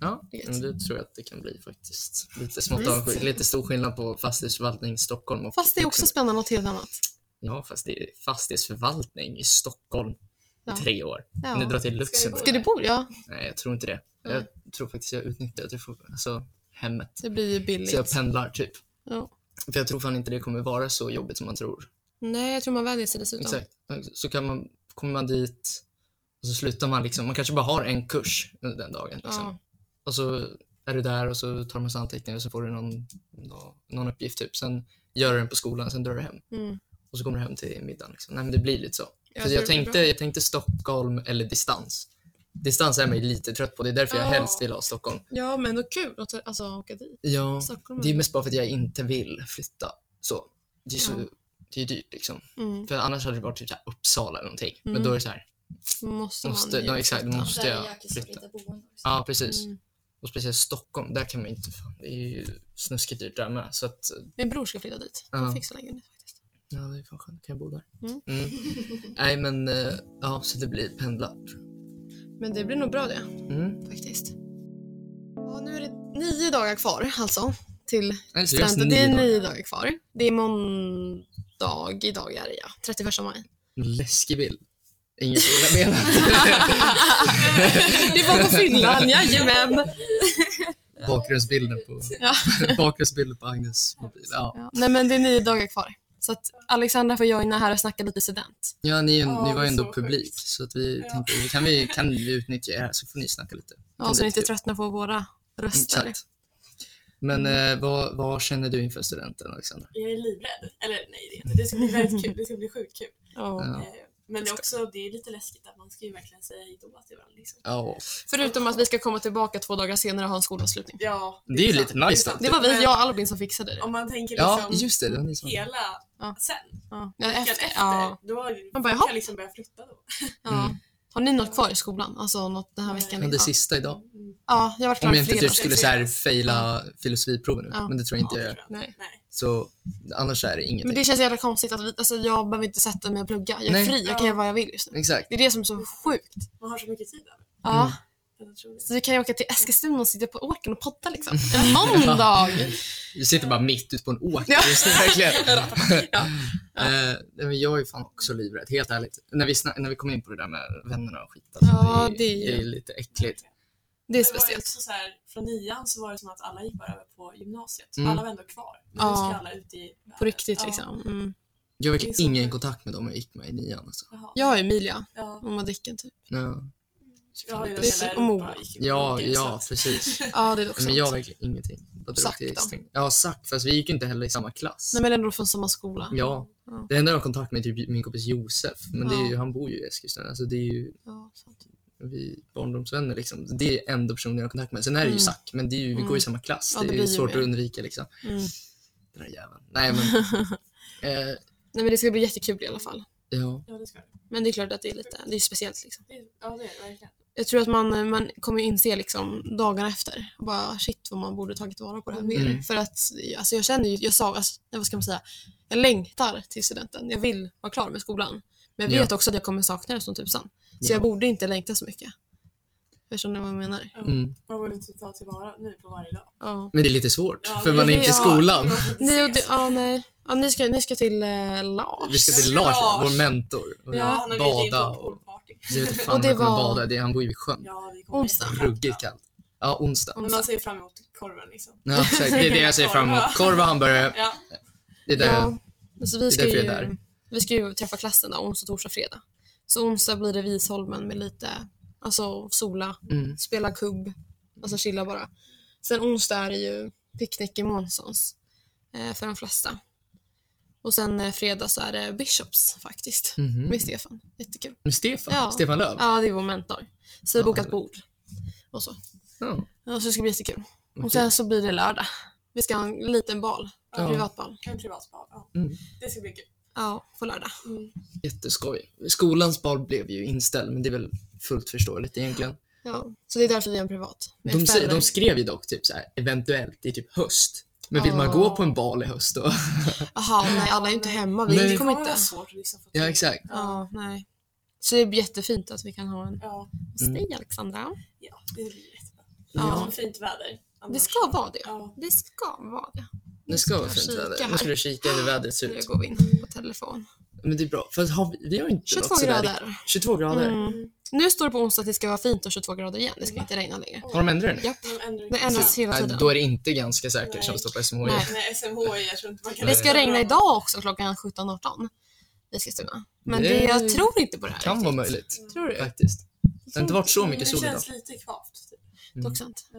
Speaker 1: Ja,
Speaker 2: Vet.
Speaker 1: men det tror jag att det kan bli faktiskt. Lite smått avundsjuk. Lite stor skillnad på fastighetsförvaltning i Stockholm och
Speaker 2: Fast det är också spännande något helt annat.
Speaker 1: Ja, fast det är fastighetsförvaltning i Stockholm
Speaker 2: Ja.
Speaker 1: i tre år. Ni
Speaker 2: Ja.
Speaker 1: drar till Luxemburg.
Speaker 2: Ska du bo? Ja,
Speaker 1: Nej, jag tror inte det.
Speaker 2: Mm.
Speaker 1: Jag tror faktiskt jag utnyttjar att jag får, alltså, hemmet.
Speaker 2: det blir ju billigt.
Speaker 1: Så jag pendlar typ.
Speaker 2: Ja.
Speaker 1: För jag tror fan inte det kommer vara så jobbigt som man tror.
Speaker 2: Nej, jag tror man vänjer sig dessutom.
Speaker 1: Exakt. Så kan man, kommer man dit och så slutar man liksom, man kanske bara har en kurs under den dagen. Liksom.
Speaker 2: Ja.
Speaker 1: Och så är du där och så tar du massa anteckningar och så får du någon, nå- någon uppgift typ. Sen gör du den på skolan, sen drar du hem.
Speaker 2: Mm.
Speaker 1: Och så kommer du hem till middagen. Liksom. Nej men det blir lite så.
Speaker 2: Jag
Speaker 1: För
Speaker 2: tror
Speaker 1: jag,
Speaker 2: det blir
Speaker 1: tänkte, jag tänkte Stockholm eller distans. Distans är man ju lite trött på, det är därför jag
Speaker 2: Ja.
Speaker 1: helst vill ha Stockholm.
Speaker 2: Ja, men ändå kul att alltså, åka dit.
Speaker 1: Ja,
Speaker 2: Stockholm.
Speaker 1: det är mest bara för att jag inte vill flytta. Så. Det är, så,
Speaker 2: Ja.
Speaker 1: det är dyrt liksom.
Speaker 2: Mm.
Speaker 1: För annars hade det varit typ så här Uppsala eller någonting. Men
Speaker 2: Mm.
Speaker 1: då är det så här,
Speaker 2: Måste,
Speaker 1: Måste,
Speaker 2: man
Speaker 1: ja, exakt, då
Speaker 3: Och
Speaker 1: måste
Speaker 3: där är
Speaker 1: jag
Speaker 3: jäkligt
Speaker 1: flytta.
Speaker 3: solida boende också.
Speaker 1: Ja, precis.
Speaker 2: Mm.
Speaker 1: Och speciellt Stockholm, där kan man inte, fan, det är ju snuskigt dyrt där med. Så att,
Speaker 2: Min bror ska flytta dit.
Speaker 1: Ja.
Speaker 2: Han fick så länge nu faktiskt.
Speaker 1: ja det är fan skönt, kan jag bo där.
Speaker 2: Mm.
Speaker 1: Nej men, eh, ja så det blir pendlar.
Speaker 2: Men det blir nog bra det.
Speaker 1: Mm.
Speaker 2: faktiskt. Ja, nu är det nio dagar kvar alltså till
Speaker 1: Nej, så just
Speaker 2: studenten. Det är
Speaker 1: nio dagar.
Speaker 2: nio dagar kvar. Det är måndag, idag är det ja. 31 maj.
Speaker 1: Läskig bild. Inget illa menat.
Speaker 2: Det var på Finland, jajamän!
Speaker 1: Bakgrundsbilden på,
Speaker 2: Ja.
Speaker 1: bakgrundsbilden på Agnes mobil. Ja,
Speaker 2: Ja, nej men det är nio dagar kvar. Så att Alexandra får joina här och snacka lite student.
Speaker 1: ja ni, är ju-
Speaker 4: Ja,
Speaker 1: ni var
Speaker 4: det
Speaker 1: ju
Speaker 4: är
Speaker 1: ändå
Speaker 4: så
Speaker 1: publik
Speaker 4: sjukt.
Speaker 1: så att vi
Speaker 4: Ja.
Speaker 1: tänkte, vi kan, vi, kan vi utnyttja er här så får ni snacka lite.
Speaker 2: Ja, så Alltså, ni inte tröttnar på våra röster.
Speaker 1: Exakt. Men eh, vad, vad känner du inför studenten Alexandra?
Speaker 4: Jag är livrädd. Eller nej, det är jag inte. Det ska bli väldigt kul. Det ska bli sjukt kul.
Speaker 2: Ja.
Speaker 1: Ja.
Speaker 4: Eh, Men det är också det är lite läskigt att man ska ju verkligen säga hej då till varandra. Liksom.
Speaker 1: Ja,
Speaker 2: Förutom att vi ska komma tillbaka två dagar senare och ha en skolavslutning.
Speaker 4: Ja,
Speaker 1: Det är ju
Speaker 4: sant.
Speaker 1: lite nice
Speaker 4: sant.
Speaker 1: då.
Speaker 2: Det var vi, jag och Albin som fixade det.
Speaker 4: Om man tänker
Speaker 1: ja
Speaker 4: liksom
Speaker 1: just det, det var ni som...
Speaker 4: hela
Speaker 2: Ja.
Speaker 4: sen,
Speaker 2: Ja. Ja,
Speaker 4: veckan
Speaker 2: efter,
Speaker 4: efter,
Speaker 2: ja.
Speaker 4: då
Speaker 2: Man bara,
Speaker 4: kan
Speaker 2: jaha.
Speaker 4: jag liksom börja flytta då.
Speaker 2: Ja. Har ni något kvar i skolan? Alltså något den här
Speaker 4: Mm. Nej.
Speaker 2: veckan?
Speaker 1: Men det
Speaker 2: Ja.
Speaker 1: sista idag.
Speaker 2: Ja, jag har varit
Speaker 1: Om
Speaker 2: klar
Speaker 1: jag inte
Speaker 2: fredag.
Speaker 1: typ skulle så här fejla filosofiproven nu,
Speaker 2: Ja.
Speaker 1: men det tror jag inte
Speaker 4: Ja,
Speaker 1: jag
Speaker 4: det
Speaker 1: gör.
Speaker 4: tror jag.
Speaker 2: Nej.
Speaker 4: Nej.
Speaker 1: Så annars är det ingenting.
Speaker 2: Men det känns jävla konstigt att vi, alltså, jag behöver inte sätta mig och plugga. Jag är
Speaker 1: Nej.
Speaker 2: fri, jag kan
Speaker 4: Ja.
Speaker 2: göra vad jag vill just nu.
Speaker 1: Exakt.
Speaker 2: Det är det som är så sjukt.
Speaker 4: Man har så mycket tid över.
Speaker 2: Ja.
Speaker 1: Mm.
Speaker 4: Det är otroligt.
Speaker 2: Så vi kan ju åka till Eskilstuna och sitta på åkern och podda liksom. En måndag!
Speaker 1: Du sitter bara mitt ute på en åker
Speaker 2: Ja.
Speaker 1: just nu verkligen.
Speaker 2: Ja.
Speaker 1: Eh, nej, men jag är fan också livrädd, helt ärligt. När vi, sna- när vi kom in på det där med vännerna och skit. Alltså,
Speaker 2: Ja,
Speaker 1: det,
Speaker 2: det
Speaker 1: är,
Speaker 2: är ju-
Speaker 1: det är lite äckligt.
Speaker 2: Det är
Speaker 4: Men var ju
Speaker 2: speciellt.
Speaker 4: också så här, från nian så var det som att alla gick bara över på gymnasiet.
Speaker 1: Mm.
Speaker 4: Alla var ändå kvar. Men nu
Speaker 2: Ja.
Speaker 4: ska alla ut i världen.
Speaker 2: På riktigt
Speaker 4: Ja.
Speaker 2: liksom. Mm.
Speaker 1: Jag
Speaker 4: Det är
Speaker 1: fick
Speaker 4: så
Speaker 1: ingen
Speaker 4: sjukt.
Speaker 1: kontakt med dem jag gick med i nian. Alltså.
Speaker 4: Jaha.
Speaker 2: Jag och Emilia,
Speaker 4: Ja.
Speaker 2: och Madicken typ.
Speaker 1: Ja.
Speaker 4: Jag har ju
Speaker 2: Precis,
Speaker 4: hela
Speaker 2: och Moa.
Speaker 4: Europa gick-
Speaker 1: Ja,
Speaker 4: gick-
Speaker 1: ja precis.
Speaker 2: Ja, det är också
Speaker 1: Men jag har
Speaker 2: sant.
Speaker 1: verkligen ingenting. Bara drog
Speaker 2: Zack
Speaker 1: till
Speaker 2: då?
Speaker 1: stäng- Ja, Zack. Fast vi gick inte heller i samma klass.
Speaker 2: Nej men ändå från samma skola.
Speaker 1: Ja.
Speaker 2: Ja.
Speaker 1: Det enda jag har kontakt med är typ min kompis Josef, men det är ju,
Speaker 2: Ja.
Speaker 1: han bor ju i Eskilstuna. Alltså det är ju
Speaker 2: Ja, sant.
Speaker 1: vi barndomsvänner liksom. Det är enda personen jag har kontakt med. Sen är det ju
Speaker 2: Mm.
Speaker 1: Zack, men det är ju, vi går
Speaker 2: Mm.
Speaker 1: i samma klass.
Speaker 2: Ja,
Speaker 1: det,
Speaker 2: det
Speaker 1: är ju
Speaker 2: blir ju
Speaker 1: svårt
Speaker 2: mer.
Speaker 1: att undvika liksom.
Speaker 2: Mm.
Speaker 1: Den där jäveln. Nej men. eh,
Speaker 2: Nej men det ska bli jättekul i alla fall.
Speaker 1: ja.
Speaker 4: Ja, det ska det.
Speaker 2: Men det är klart att det är lite, det är speciellt liksom.
Speaker 4: Det är- Ja, det är det verkligen.
Speaker 2: Jag tror att man, man kommer ju inse liksom dagarna efter, bara shit vad man borde tagit vara på det här mer.
Speaker 1: Mm.
Speaker 2: För att alltså jag känner ju, jag sa, alltså, vad ska man säga, jag längtar till studenten. Jag vill vara klar med skolan. Men jag
Speaker 1: Ja.
Speaker 2: vet också att jag kommer sakna det som tusan.
Speaker 1: Ja.
Speaker 2: Så jag borde inte längta så mycket. Förstår ni vad jag menar?
Speaker 1: Mm.
Speaker 4: Man borde inte ta tillvara nu på varje dag.
Speaker 2: Ja.
Speaker 1: Men det är lite svårt,
Speaker 4: Ja,
Speaker 1: för man är
Speaker 2: det-
Speaker 1: inte i
Speaker 2: ja.
Speaker 1: skolan.
Speaker 2: Nej, och det, ja, nej. Ja, ni, ska, ni ska till eh, Lars.
Speaker 1: Vi ska till
Speaker 4: Ja,
Speaker 1: Lars,
Speaker 4: Lars.
Speaker 1: vår mentor. Och
Speaker 4: Ja, han har bjudit in
Speaker 1: bada
Speaker 4: på
Speaker 1: och...
Speaker 4: poolparty.
Speaker 1: Jag vet inte fan
Speaker 2: Och
Speaker 1: om
Speaker 2: det
Speaker 1: jag kommer
Speaker 2: var-
Speaker 1: bada, det, han bor ju vid sjön.
Speaker 4: Ja, vi kommer
Speaker 2: Onsdag.
Speaker 1: Ruggigt kallt. Ja, onsdag.
Speaker 4: Men man ser fram emot korven liksom.
Speaker 1: Ja, exakt. Det är det jag ser fram emot. Korv och hamburgare,
Speaker 4: Ja,
Speaker 1: det är det.
Speaker 2: Ja, alltså vi,
Speaker 1: är
Speaker 2: ska
Speaker 1: därför
Speaker 2: ju,
Speaker 1: jag är där.
Speaker 2: vi ska ju träffa klassen där, onsdag, torsdag, fredag. Så onsdag blir det Visholmen med lite alltså, sola,
Speaker 1: Mm.
Speaker 2: spela kubb, alltså chilla bara. Sen onsdag är det ju picknick i Månssons eh, för de flesta. Och sen eh, fredag så är det Bishops faktiskt,
Speaker 1: Mhm.
Speaker 2: med Stefan. Jättekul.
Speaker 1: Med Stefan?
Speaker 2: Ja.
Speaker 1: Stefan Löf?
Speaker 2: Ja, det är vår mentor. Så vi har
Speaker 1: Ja,
Speaker 2: bokat
Speaker 1: det-
Speaker 2: bord och så.
Speaker 1: Ja.
Speaker 2: Ja, så det ska bli jättekul.
Speaker 1: okej.
Speaker 2: Och sen så blir det lördag. Vi ska ha en liten bal,
Speaker 1: Ja.
Speaker 2: privat bal.
Speaker 4: en privat bad. Ja.
Speaker 1: Mm.
Speaker 4: Det ska bli kul. Mm.
Speaker 2: Ja, på lördag.
Speaker 1: Jätteskoj. Skolans bal blev ju inställd, men det är väl fullt förståeligt egentligen.
Speaker 2: Ja, så det är därför vi har en privat. med
Speaker 1: De, se-
Speaker 2: föräldrar.
Speaker 1: de skrev ju dock typ så här, eventuellt i typ höst. Men vill man
Speaker 2: Ja.
Speaker 1: gå på en bal i höst då?
Speaker 2: Jaha, nej alla är inte hemma. Vi
Speaker 1: Nej.
Speaker 2: nej. kommer
Speaker 4: vara
Speaker 2: inte.
Speaker 4: svårt att liksom få till.
Speaker 1: ja, exakt.
Speaker 2: Ja, nej. Så det är jättefint att vi kan ha
Speaker 1: Mm.
Speaker 2: en
Speaker 4: Ja,
Speaker 2: hos dig Alexandra.
Speaker 4: ja, det blir jättebra.
Speaker 2: Ja.
Speaker 4: Ja. Fint väder. annars.
Speaker 2: Det ska vara det.
Speaker 4: Ja.
Speaker 2: Det ska vara det.
Speaker 1: Nu ska vara
Speaker 2: Jag
Speaker 1: fint
Speaker 2: kika
Speaker 1: väder.
Speaker 2: här.
Speaker 1: Nu ska du kika hur vädret ser
Speaker 2: Nu
Speaker 1: ut.
Speaker 2: går vi in på telefon.
Speaker 1: Men det är bra, för att har vi, vi har inte
Speaker 2: 22
Speaker 1: något sådär riktigt-
Speaker 2: grader.
Speaker 1: 22 grader?
Speaker 2: Mm. Nu står det på onsdag att det ska vara fint och 22 grader igen. Det ska inte regna längre.
Speaker 1: Har de ändrat det nu?
Speaker 2: Japp.
Speaker 4: De ändrar
Speaker 2: Det ändras hela
Speaker 1: Nej,
Speaker 2: tiden.
Speaker 1: då är det inte ganska säkert
Speaker 4: Nej.
Speaker 1: som det står på SMHI.
Speaker 2: Nej.
Speaker 4: Nej, SMH, jag tror inte man kan...
Speaker 2: Det ska regna idag också klockan 17.18 i Eskilstuna. Men det,
Speaker 1: Det
Speaker 2: jag tror inte på det här.
Speaker 1: kan Mm. vara
Speaker 2: riktigt.
Speaker 1: möjligt
Speaker 2: Tror du?
Speaker 1: faktiskt. Det har inte varit så
Speaker 4: Men
Speaker 1: mycket
Speaker 4: det
Speaker 1: sol idag.
Speaker 4: känns lite kvavt. Typ.
Speaker 1: Mm.
Speaker 2: Dock sant.
Speaker 4: Ja.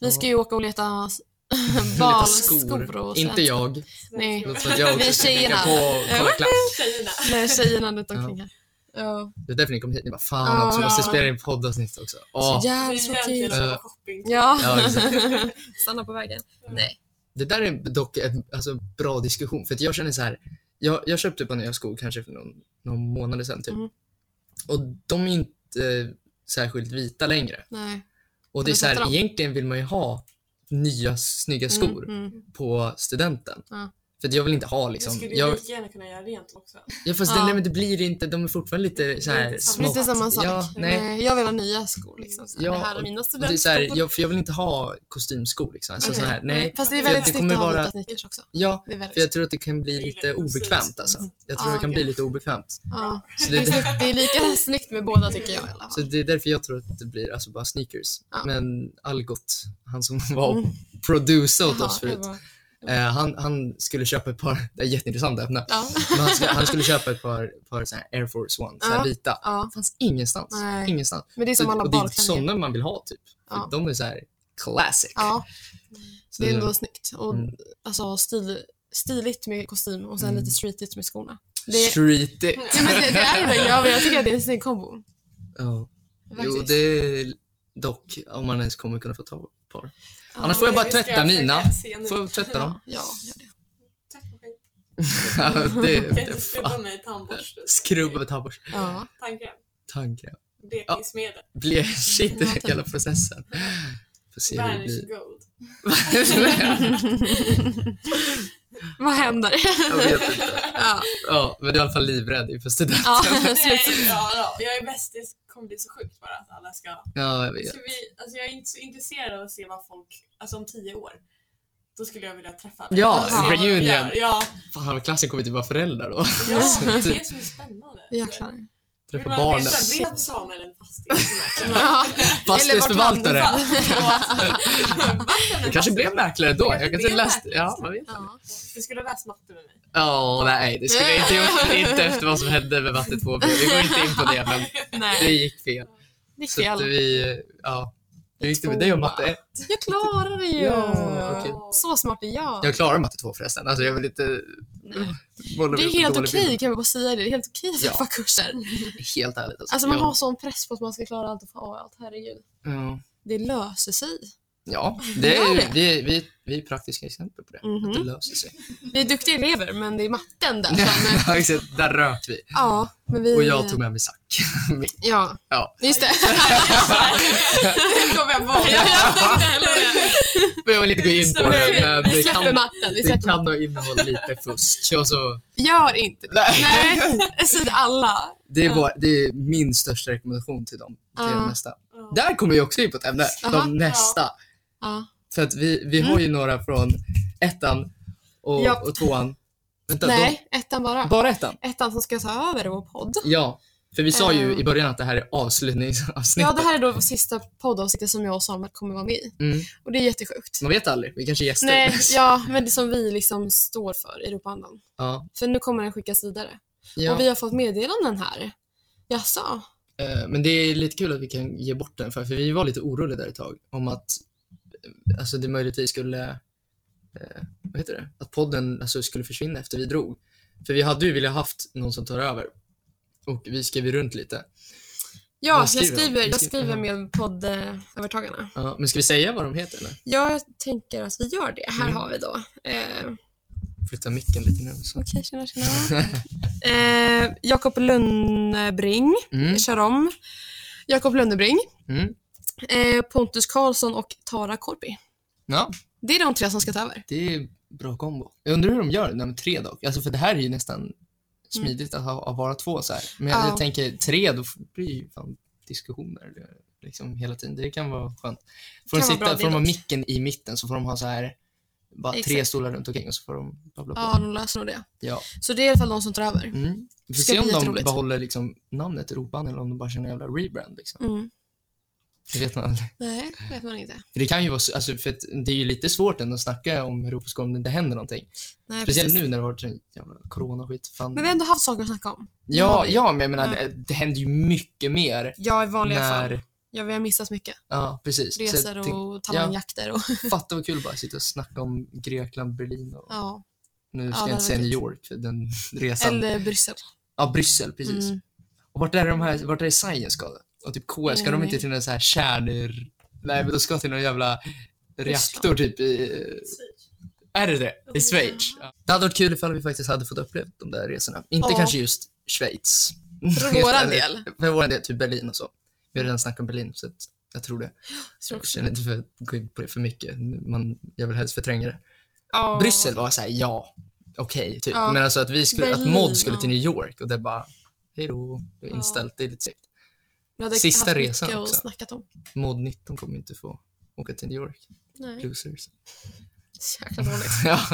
Speaker 2: Vi ska ju åka och leta
Speaker 1: Lite
Speaker 2: balskor och sånt.
Speaker 1: Inte jag.
Speaker 2: Nej.
Speaker 1: Låt för att jag
Speaker 2: Vi
Speaker 1: också
Speaker 2: är
Speaker 1: ska
Speaker 2: tjejerna.
Speaker 1: kika på och kolla klass.
Speaker 4: Tjejerna.
Speaker 2: Nej, tjejerna runt omkring
Speaker 1: Ja.
Speaker 2: här. Ja.
Speaker 1: Det är därför ni kom hit. Ni bara fan
Speaker 2: Ja.
Speaker 1: också, måste spela in poddavsnitt också. Åh,
Speaker 2: Så
Speaker 4: Det
Speaker 2: jävla
Speaker 4: är
Speaker 2: tråkigt.
Speaker 4: egentligen
Speaker 1: kul.
Speaker 4: som shopping.
Speaker 2: Ja.
Speaker 1: Ja, exakt.
Speaker 2: Stanna på vägen.
Speaker 1: det där är dock en alltså, bra diskussion för att jag känner så här. Jag, jag köpte på nya skor kanske för någon, någon månad sedan typ.
Speaker 2: Mm.
Speaker 1: Och de är inte eh, särskilt vita längre.
Speaker 2: Nej.
Speaker 1: Och det är
Speaker 2: Men
Speaker 1: så här,
Speaker 2: fattar de?
Speaker 1: egentligen vill man ju ha nya snygga skor
Speaker 2: Mm, mm.
Speaker 1: på studenten.
Speaker 2: Ja.
Speaker 1: För att jag vill inte ha
Speaker 4: Du
Speaker 1: liksom,
Speaker 4: skulle ju
Speaker 1: jag,
Speaker 4: lika gärna kunna göra rent också.
Speaker 1: Ja fast
Speaker 2: Ja.
Speaker 1: Det, nej, men det blir inte, de är fortfarande lite så här
Speaker 4: Lite
Speaker 1: smått.
Speaker 4: samma-
Speaker 2: Lite samma sak. Eh,
Speaker 1: Ja, nej.
Speaker 2: Jag vill ha nya skor. Liksom. Så här,
Speaker 1: Ja,
Speaker 2: det här är
Speaker 1: och
Speaker 2: mina
Speaker 1: Och Det är så
Speaker 2: studentskor.
Speaker 1: här, jag, för jag vill inte ha kostymskor liksom. Alltså,
Speaker 2: Okej.
Speaker 1: så här, nej.
Speaker 2: Fast det är
Speaker 1: För
Speaker 2: väldigt
Speaker 1: det
Speaker 2: snyggt
Speaker 1: kommer
Speaker 2: att ha
Speaker 1: vara-
Speaker 2: vita sneakers också.
Speaker 1: Ja,
Speaker 2: Det är väldigt
Speaker 1: för jag tror att det kan bli lite obekvämt alltså. Jag tror
Speaker 2: Ja,
Speaker 1: det kan bli lite obekvämt.
Speaker 2: ja.
Speaker 1: Så
Speaker 2: det, är
Speaker 1: det,
Speaker 2: snyggt. det är lika snyggt med båda tycker jag i alla
Speaker 1: så
Speaker 2: fall.
Speaker 1: det är därför jag tror att det blir alltså bara sneakers.
Speaker 2: Ja.
Speaker 1: Men Algot, han som var och producer åt
Speaker 2: Jaha,
Speaker 1: oss
Speaker 2: Mm. det
Speaker 1: förut,
Speaker 2: var-
Speaker 1: eh, han, han skulle köpa ett par, det är jätteintressant ämne,
Speaker 2: Ja.
Speaker 1: men han skulle, han skulle köpa ett par, par så här Air Force One, så här
Speaker 2: Ja.
Speaker 1: vita.
Speaker 2: ja.
Speaker 1: fanns ingenstans.
Speaker 2: Nej.
Speaker 1: Ingenstans.
Speaker 2: Men det är som
Speaker 1: Så-
Speaker 2: alla
Speaker 1: och det är
Speaker 2: balklänningar.
Speaker 1: sådana man vill ha typ. För
Speaker 2: Ja.
Speaker 1: De är så här classic.
Speaker 2: Ja,
Speaker 1: Så
Speaker 2: det är ändå snyggt. Och,
Speaker 1: Mm.
Speaker 2: alltså, stil, stiligt med kostym och sen
Speaker 1: Mm.
Speaker 2: lite streetigt med skorna. Det, Mm.
Speaker 1: streetigt.
Speaker 2: ja, men det, det är det verkligen. Ja, men jag tycker att det är en snygg kombo.
Speaker 1: Ja. Jo,
Speaker 2: Faktiskt.
Speaker 1: det är dock om man ens kommer kunna få tag på ett par. Annars får jag bara
Speaker 4: Det ska
Speaker 1: tvätta
Speaker 4: försöka
Speaker 1: mina.
Speaker 4: se nu.
Speaker 1: Får jag tvätta dem?
Speaker 2: Ja, ja, gör det.
Speaker 4: Tack för skit.
Speaker 1: det,
Speaker 4: Kan jag
Speaker 1: det eh,
Speaker 4: inte skrubba med tandborste?
Speaker 1: Skrubba med tandborste.
Speaker 2: Ja.
Speaker 4: Tandkräm.
Speaker 1: Tandkräm.
Speaker 4: Blekningsmedel.
Speaker 1: Ble- Shit, det
Speaker 2: Ja,
Speaker 1: är hela processen. Får se hur det
Speaker 4: Vanish
Speaker 1: blir.
Speaker 4: gold.
Speaker 2: Vad händer?
Speaker 1: Jag vet inte.
Speaker 2: ja.
Speaker 1: Ja, men du är i alla fall livrädd inför studenten.
Speaker 2: ja.
Speaker 4: Nej, ja, ja. Jag är bäst, det kommer bli så sjukt bara att alla ska...
Speaker 1: Ja, jag vet.
Speaker 4: ska vi, alltså jag är inte så intresserad av att se vad folk, alltså om tio år, då skulle jag vilja träffa dig.
Speaker 1: Ja,
Speaker 4: Och se vad du
Speaker 1: reunion.
Speaker 4: gör. Ja,
Speaker 1: Fan, vad klassen kommer typ vara föräldrar då.
Speaker 4: ja, det är
Speaker 1: Typ.
Speaker 4: det som är spännande.
Speaker 2: Jäklar.
Speaker 1: Träffa
Speaker 4: man
Speaker 1: barnen.
Speaker 4: veta, blev Samuel en fastighetsmäklare?
Speaker 2: Ja.
Speaker 1: Fastighetsförvaltare.
Speaker 4: Ja.
Speaker 1: Du kanske blev mäklare då. Jag kanske
Speaker 4: blev
Speaker 1: läste...
Speaker 4: mäklare.
Speaker 1: Ja, man vet.
Speaker 2: Ja.
Speaker 4: Du skulle ha läst matte med mig.
Speaker 1: Ja, nej, det skulle jag inte gjort. Inte efter vad som hände med Matte 2B. Vi går inte in på det, men
Speaker 2: Nej.
Speaker 1: det gick fel.
Speaker 2: Det gick
Speaker 1: Så
Speaker 2: vi
Speaker 1: att
Speaker 2: alla.
Speaker 1: vi, ja. Hur gick det med dig och matte 1?
Speaker 2: Jag klarade det ju!
Speaker 1: Ja, okej.
Speaker 2: Så smart är jag.
Speaker 1: Jag klarar matte 2 förresten. Alltså jag vill inte
Speaker 2: Nej.
Speaker 1: måla
Speaker 2: Det är
Speaker 1: upp
Speaker 2: helt
Speaker 1: dålig
Speaker 2: okej,
Speaker 1: bild.
Speaker 2: kan vi bara säga det. Det är helt okej att
Speaker 1: Ja.
Speaker 2: tappa kurser.
Speaker 1: Helt ärligt. Alltså,
Speaker 2: Alltså man
Speaker 1: jag,
Speaker 2: har sån press på att man ska klara allt och få A i allt, herregud.
Speaker 1: ja.
Speaker 2: Det löser sig.
Speaker 1: Ja, det är
Speaker 2: Mm. Gör
Speaker 1: ju,
Speaker 2: det.
Speaker 1: det är, vi, vi är praktiska exempel på det.
Speaker 2: Mhm.
Speaker 1: Att det löser sig.
Speaker 2: Vi är duktiga elever, men det är matten där framme.
Speaker 1: Ja, exakt. Där rök vi.
Speaker 2: Ja, men vi... eh,
Speaker 1: Och jag tog med mig Zack.
Speaker 2: Ja.
Speaker 1: Ja.
Speaker 2: Just det.
Speaker 4: Det kommer jag på.
Speaker 1: Men jag vill inte gå in på det, men
Speaker 2: Vi
Speaker 1: det
Speaker 2: släpper
Speaker 1: kan,
Speaker 2: matten. Vi
Speaker 1: det
Speaker 2: släpper matten.
Speaker 1: kan ha innehållit lite fusk. Och så,
Speaker 2: Gör inte det.
Speaker 1: nej.
Speaker 2: Nej, säg alla.
Speaker 1: Det, är vår, det är min största rekommendation till dem. Till
Speaker 2: Ja.
Speaker 1: nästa. Där kommer vi också in på ett ämne.
Speaker 2: Aha.
Speaker 1: De nästa.
Speaker 2: Ja. Mm.
Speaker 1: För att vi, vi har ju några från ettan och,
Speaker 2: Ja.
Speaker 1: och tvåan. Vänta,
Speaker 2: Nej,
Speaker 1: de,
Speaker 2: ettan bara.
Speaker 1: bara ettan?
Speaker 2: Ettan som ska ta över vår podd.
Speaker 1: Ja. För vi sa ju
Speaker 2: Ehm.
Speaker 1: i början att det här är avslutningsavsnittet.
Speaker 2: Ja, det här är då sista poddavsnittet som jag och Samuel kommer vara med i.
Speaker 1: mm.
Speaker 2: Och det är jättesjukt.
Speaker 1: Man vet aldrig, vi kanske är gäster.
Speaker 2: Nej, ja, men det som vi liksom står för, Europaandan.
Speaker 1: Ja.
Speaker 2: För nu kommer den skickas vidare.
Speaker 1: Ja.
Speaker 2: Och vi har fått meddelanden här. Jaså?
Speaker 1: Eh, Men det är lite kul att vi kan ge bort den, för, för vi var lite oroliga där ett tag om att eh, alltså det möjligtvis skulle, eh, vad heter det, att podden alltså, skulle försvinna efter vi drog. För vi hade ju velat haft någon som tar över och vi skrev ju runt lite.
Speaker 2: Ja,
Speaker 1: Vad
Speaker 2: jag
Speaker 1: skriver de?
Speaker 2: skriver,
Speaker 1: Vad
Speaker 2: jag
Speaker 1: skriver
Speaker 2: skriver med eh, poddövertagarna.
Speaker 1: Ja, men ska vi säga vad de heter eller?
Speaker 2: Jag tänker att vi gör det. Här
Speaker 1: Mm.
Speaker 2: har vi då. Eh,
Speaker 1: Flytta micken lite nu. Så.
Speaker 2: Okej, tjena tjena. eh, Jakob Lönnebring
Speaker 1: Mm,
Speaker 2: kör om. Jakob Lönnebring,
Speaker 1: mm.
Speaker 2: eh, Pontus Karlsson och Tara Korpi.
Speaker 1: Ja,
Speaker 2: Det är de tre som ska ta över.
Speaker 1: det är bra kombo. Jag undrar hur de gör nummer tre dock. Alltså för det här är ju nästan smidigt att ha, att vara två så här. Men jag,
Speaker 2: Mm. Ja.
Speaker 1: jag tänker tre, då blir det ju fan diskussioner liksom hela tiden. Det kan vara skönt. Får de
Speaker 2: Kan vara bra
Speaker 1: sitta, får de ha
Speaker 2: dialog.
Speaker 1: micken i mitten så får de ha så här bara tre
Speaker 2: Exakt.
Speaker 1: stolar runt omkring och så får de babbla på.
Speaker 2: Ja, de löser nog det.
Speaker 1: Ja.
Speaker 2: Så det är i alla fall de som tar över.
Speaker 1: Mm. Vi får
Speaker 2: Ska
Speaker 1: se om
Speaker 2: bli
Speaker 1: de
Speaker 2: jätteroligt.
Speaker 1: behåller liksom namnet Roban eller om de bara kör en jävla rebrand. Liksom.
Speaker 2: Mm.
Speaker 1: Det vet man aldrig.
Speaker 2: Nej, vet man inte.
Speaker 1: För det kan ju vara, så- alltså, för att det är ju lite svårt ändå att snacka om Europaskol om det inte händer någonting.
Speaker 2: Nej,
Speaker 1: Speciellt nu
Speaker 2: precis.
Speaker 1: när det har varit sån jävla coronaskit. Fan.
Speaker 2: Men vi har ändå haft saker att snacka om.
Speaker 1: Ja,
Speaker 2: har vi.
Speaker 1: ja, men jag menar, eh,
Speaker 2: Ja.
Speaker 1: Det, det händer ju mycket mer.
Speaker 2: Ja, i vanliga
Speaker 1: när,
Speaker 2: fall. Ja, vi har missat mycket.
Speaker 1: Ja, precis. Så jag
Speaker 2: Resor
Speaker 1: tänkte,
Speaker 2: och talangjakter och...
Speaker 1: Fatta vad kul bara att sitta och snacka om Grekland, Berlin och
Speaker 2: Ja.
Speaker 1: nu ska
Speaker 2: Ja, det
Speaker 1: jag
Speaker 2: var
Speaker 1: inte säga New
Speaker 2: roligt.
Speaker 1: York, för den resan.
Speaker 2: Eller Bryssel.
Speaker 1: Ja, Bryssel, precis.
Speaker 2: Mm.
Speaker 1: Och vart är de här, vart är science ska det? Och typ KS, ska de inte till någon så här kärnor... Nej, men de ska till någon jävla reaktor typ i Är det det? I Schweiz? Ja. Det hade varit kul ifall vi faktiskt hade fått uppleva de där resorna. Inte
Speaker 2: Ja.
Speaker 1: kanske just Schweiz.
Speaker 2: För våran del.
Speaker 1: För vår del, typ Berlin och så. Vi har redan snackat om Berlin, så att jag tror det.
Speaker 2: tror
Speaker 1: Jag känner inte för att gå in på det för mycket. Man, jag vill helst förtränga det.
Speaker 2: Ja.
Speaker 1: Bryssel var så här, ja, okej, typ.
Speaker 2: Ja.
Speaker 1: Men alltså att, vi skulle, att
Speaker 2: Berlin,
Speaker 1: Mod skulle
Speaker 2: ja.
Speaker 1: till New York och det bara, hej då, det är inställt. Det är lite segt.
Speaker 2: Vi hade
Speaker 1: Sista
Speaker 2: haft
Speaker 1: resan
Speaker 2: mycket
Speaker 1: också.
Speaker 2: att snackat om.
Speaker 1: Mod 19 kommer inte få åka till New York.
Speaker 2: Nej,
Speaker 1: Losers.
Speaker 2: så jäkla dåligt.
Speaker 1: Ja.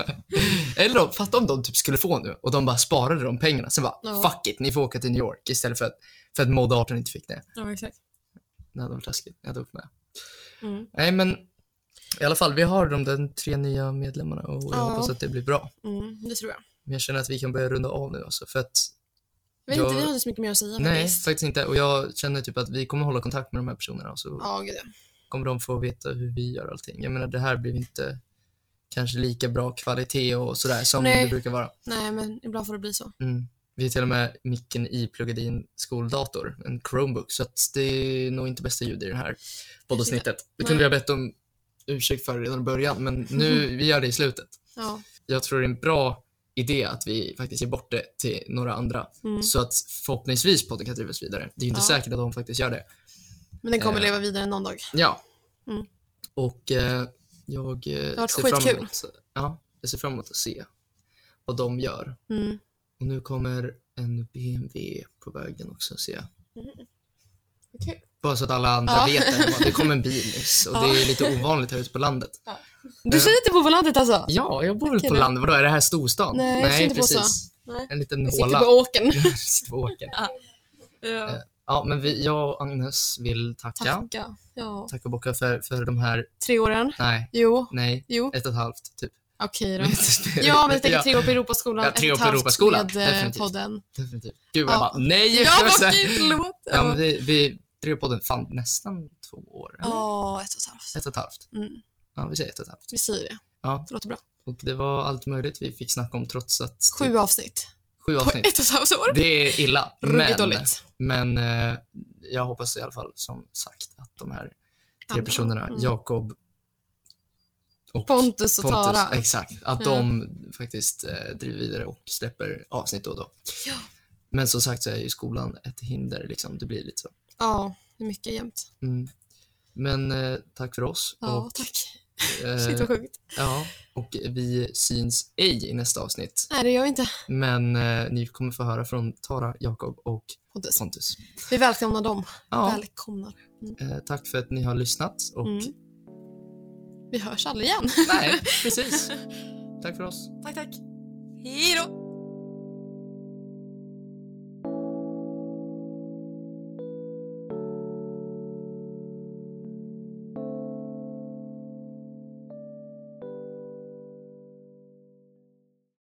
Speaker 1: Eller om, fatta om de typ skulle få nu och de bara sparade de pengarna. Sen bara,
Speaker 2: Ja.
Speaker 1: fuck it, ni får åka till New York istället för att, för att Mod 18 inte fick det.
Speaker 2: Ja, exakt.
Speaker 1: Det hade varit taskigt. Jag hade åkt med.
Speaker 2: Mm.
Speaker 1: Nej, men i alla fall, vi har de där tre nya medlemmarna och jag
Speaker 2: Ja.
Speaker 1: hoppas att det blir bra.
Speaker 2: Mm, det tror jag.
Speaker 1: Men jag känner att vi kan börja runda av nu alltså, för att
Speaker 2: Jag vet
Speaker 1: Jag-
Speaker 2: inte, vi har inte så mycket mer att säga
Speaker 1: nej,
Speaker 2: faktiskt.
Speaker 1: faktiskt inte. Och jag känner typ att vi kommer hålla kontakt med de här personerna och så
Speaker 2: Ja, gud ja.
Speaker 1: kommer de få veta hur vi gör allting. Jag menar, det här blir inte kanske lika bra kvalitet och sådär som
Speaker 2: Nej.
Speaker 1: det brukar vara.
Speaker 2: Nej, men ibland får det bli så.
Speaker 1: Mm. Vi har till och med micken ipluggad i en skoldator, en Chromebook, så att det är nog inte bästa ljud i det här poddavsnittet. Det kunde
Speaker 2: Nej.
Speaker 1: vi ha bett om ursäkt för redan i början, men nu, vi gör det i slutet.
Speaker 2: Ja.
Speaker 1: Jag tror det är en bra idé att vi faktiskt ger bort det till några andra,
Speaker 2: Mm.
Speaker 1: så att förhoppningsvis podden kan drivas vidare. Det är ju inte
Speaker 2: Ja.
Speaker 1: säkert att de faktiskt gör det.
Speaker 2: Men den kommer
Speaker 1: Eh.
Speaker 2: leva vidare någon dag.
Speaker 1: Ja.
Speaker 2: Mm.
Speaker 1: Och eh, jag, eh,
Speaker 2: varit
Speaker 1: ser fram
Speaker 2: skitkul.
Speaker 1: emot, ja, jag ser fram emot att se vad de gör.
Speaker 2: Mm.
Speaker 1: Och nu kommer en BMW på vägen också ser jag.
Speaker 2: Okej.
Speaker 1: Bara så att alla andra
Speaker 2: Mm. Ja.
Speaker 1: vet det. Det kom en bil nyss och det är lite ovanligt här ute på landet.
Speaker 2: Du
Speaker 1: Eh.
Speaker 2: känner inte på landet alltså?
Speaker 1: Ja, jag bor väl
Speaker 2: Okej,
Speaker 1: på
Speaker 2: då.
Speaker 1: landet. Vadå, är det här storstan?
Speaker 2: Nej, jag kände på så. Nej.
Speaker 1: En liten
Speaker 2: Vi sitter
Speaker 1: håla.
Speaker 2: på åkern.
Speaker 1: Jag sitter på åkern.
Speaker 2: Ja.
Speaker 1: Ja, Eh, men vi, jag och Agnes vill tacka. Tack.
Speaker 2: Tacka. Ja.
Speaker 1: Tacka och bocka för, för de här,
Speaker 2: Tre åren?
Speaker 1: nej,
Speaker 2: Jo.
Speaker 1: nej,
Speaker 2: Jo.
Speaker 1: ett och ett halvt typ.
Speaker 2: Okej då. Ja, men jag tänker tre år på Europaskolan.
Speaker 1: Ja, tre
Speaker 2: ett
Speaker 1: år på
Speaker 2: halvt
Speaker 1: Europaskolan,
Speaker 2: Med eh,
Speaker 1: definitivt.
Speaker 2: podden.
Speaker 1: Definitivt. Gud, jag
Speaker 2: Ja.
Speaker 1: bara, nej!
Speaker 2: Ja,
Speaker 1: Jag
Speaker 2: vad
Speaker 1: säger-
Speaker 2: kul! Förlåt.
Speaker 1: Ja, men vi, vi, Dreopodden fan nästan två år. eller?
Speaker 2: Ja, ett och ett halvt.
Speaker 1: Ett och ett halvt.
Speaker 2: Mm.
Speaker 1: Ja, vi säger ett och ett halvt.
Speaker 2: Vi säger det.
Speaker 1: Ja,
Speaker 2: Det låter bra.
Speaker 1: och det var allt möjligt vi fick snacka om trots att
Speaker 2: Sju avsnitt.
Speaker 1: sju
Speaker 2: På
Speaker 1: Typ. avsnitt.
Speaker 2: ett och ett halvt år.
Speaker 1: Det är illa.
Speaker 2: Ruggigt
Speaker 1: Men,
Speaker 2: dåligt.
Speaker 1: men eh, jag hoppas i alla fall som sagt att de här tre
Speaker 2: Andra.
Speaker 1: personerna,
Speaker 2: Mm.
Speaker 1: Jakob och
Speaker 2: Pontus och Tara. Mm.
Speaker 1: exakt, att de faktiskt eh, driver vidare och släpper avsnitt då och då.
Speaker 2: Ja.
Speaker 1: Men som sagt så är ju skolan ett hinder, liksom. det blir lite så.
Speaker 2: Ja, det är mycket jämnt.
Speaker 1: Mm. Men eh, tack för oss.
Speaker 2: Ja,
Speaker 1: och,
Speaker 2: tack.
Speaker 1: eh,
Speaker 2: Shit vad sjukt.
Speaker 1: ja, och vi syns ej i nästa avsnitt.
Speaker 2: Nej, det gör vi inte.
Speaker 1: Men eh, ni kommer få höra från Tara, Jakob och
Speaker 2: Pontus.
Speaker 1: Pontus.
Speaker 2: Vi välkomnar dem.
Speaker 1: Ja.
Speaker 2: Välkomnar.
Speaker 1: Eh, tack för att ni har lyssnat och
Speaker 2: Mm. Vi hörs aldrig igen.
Speaker 1: nej, precis. Tack för oss.
Speaker 2: tack, tack. Hej då!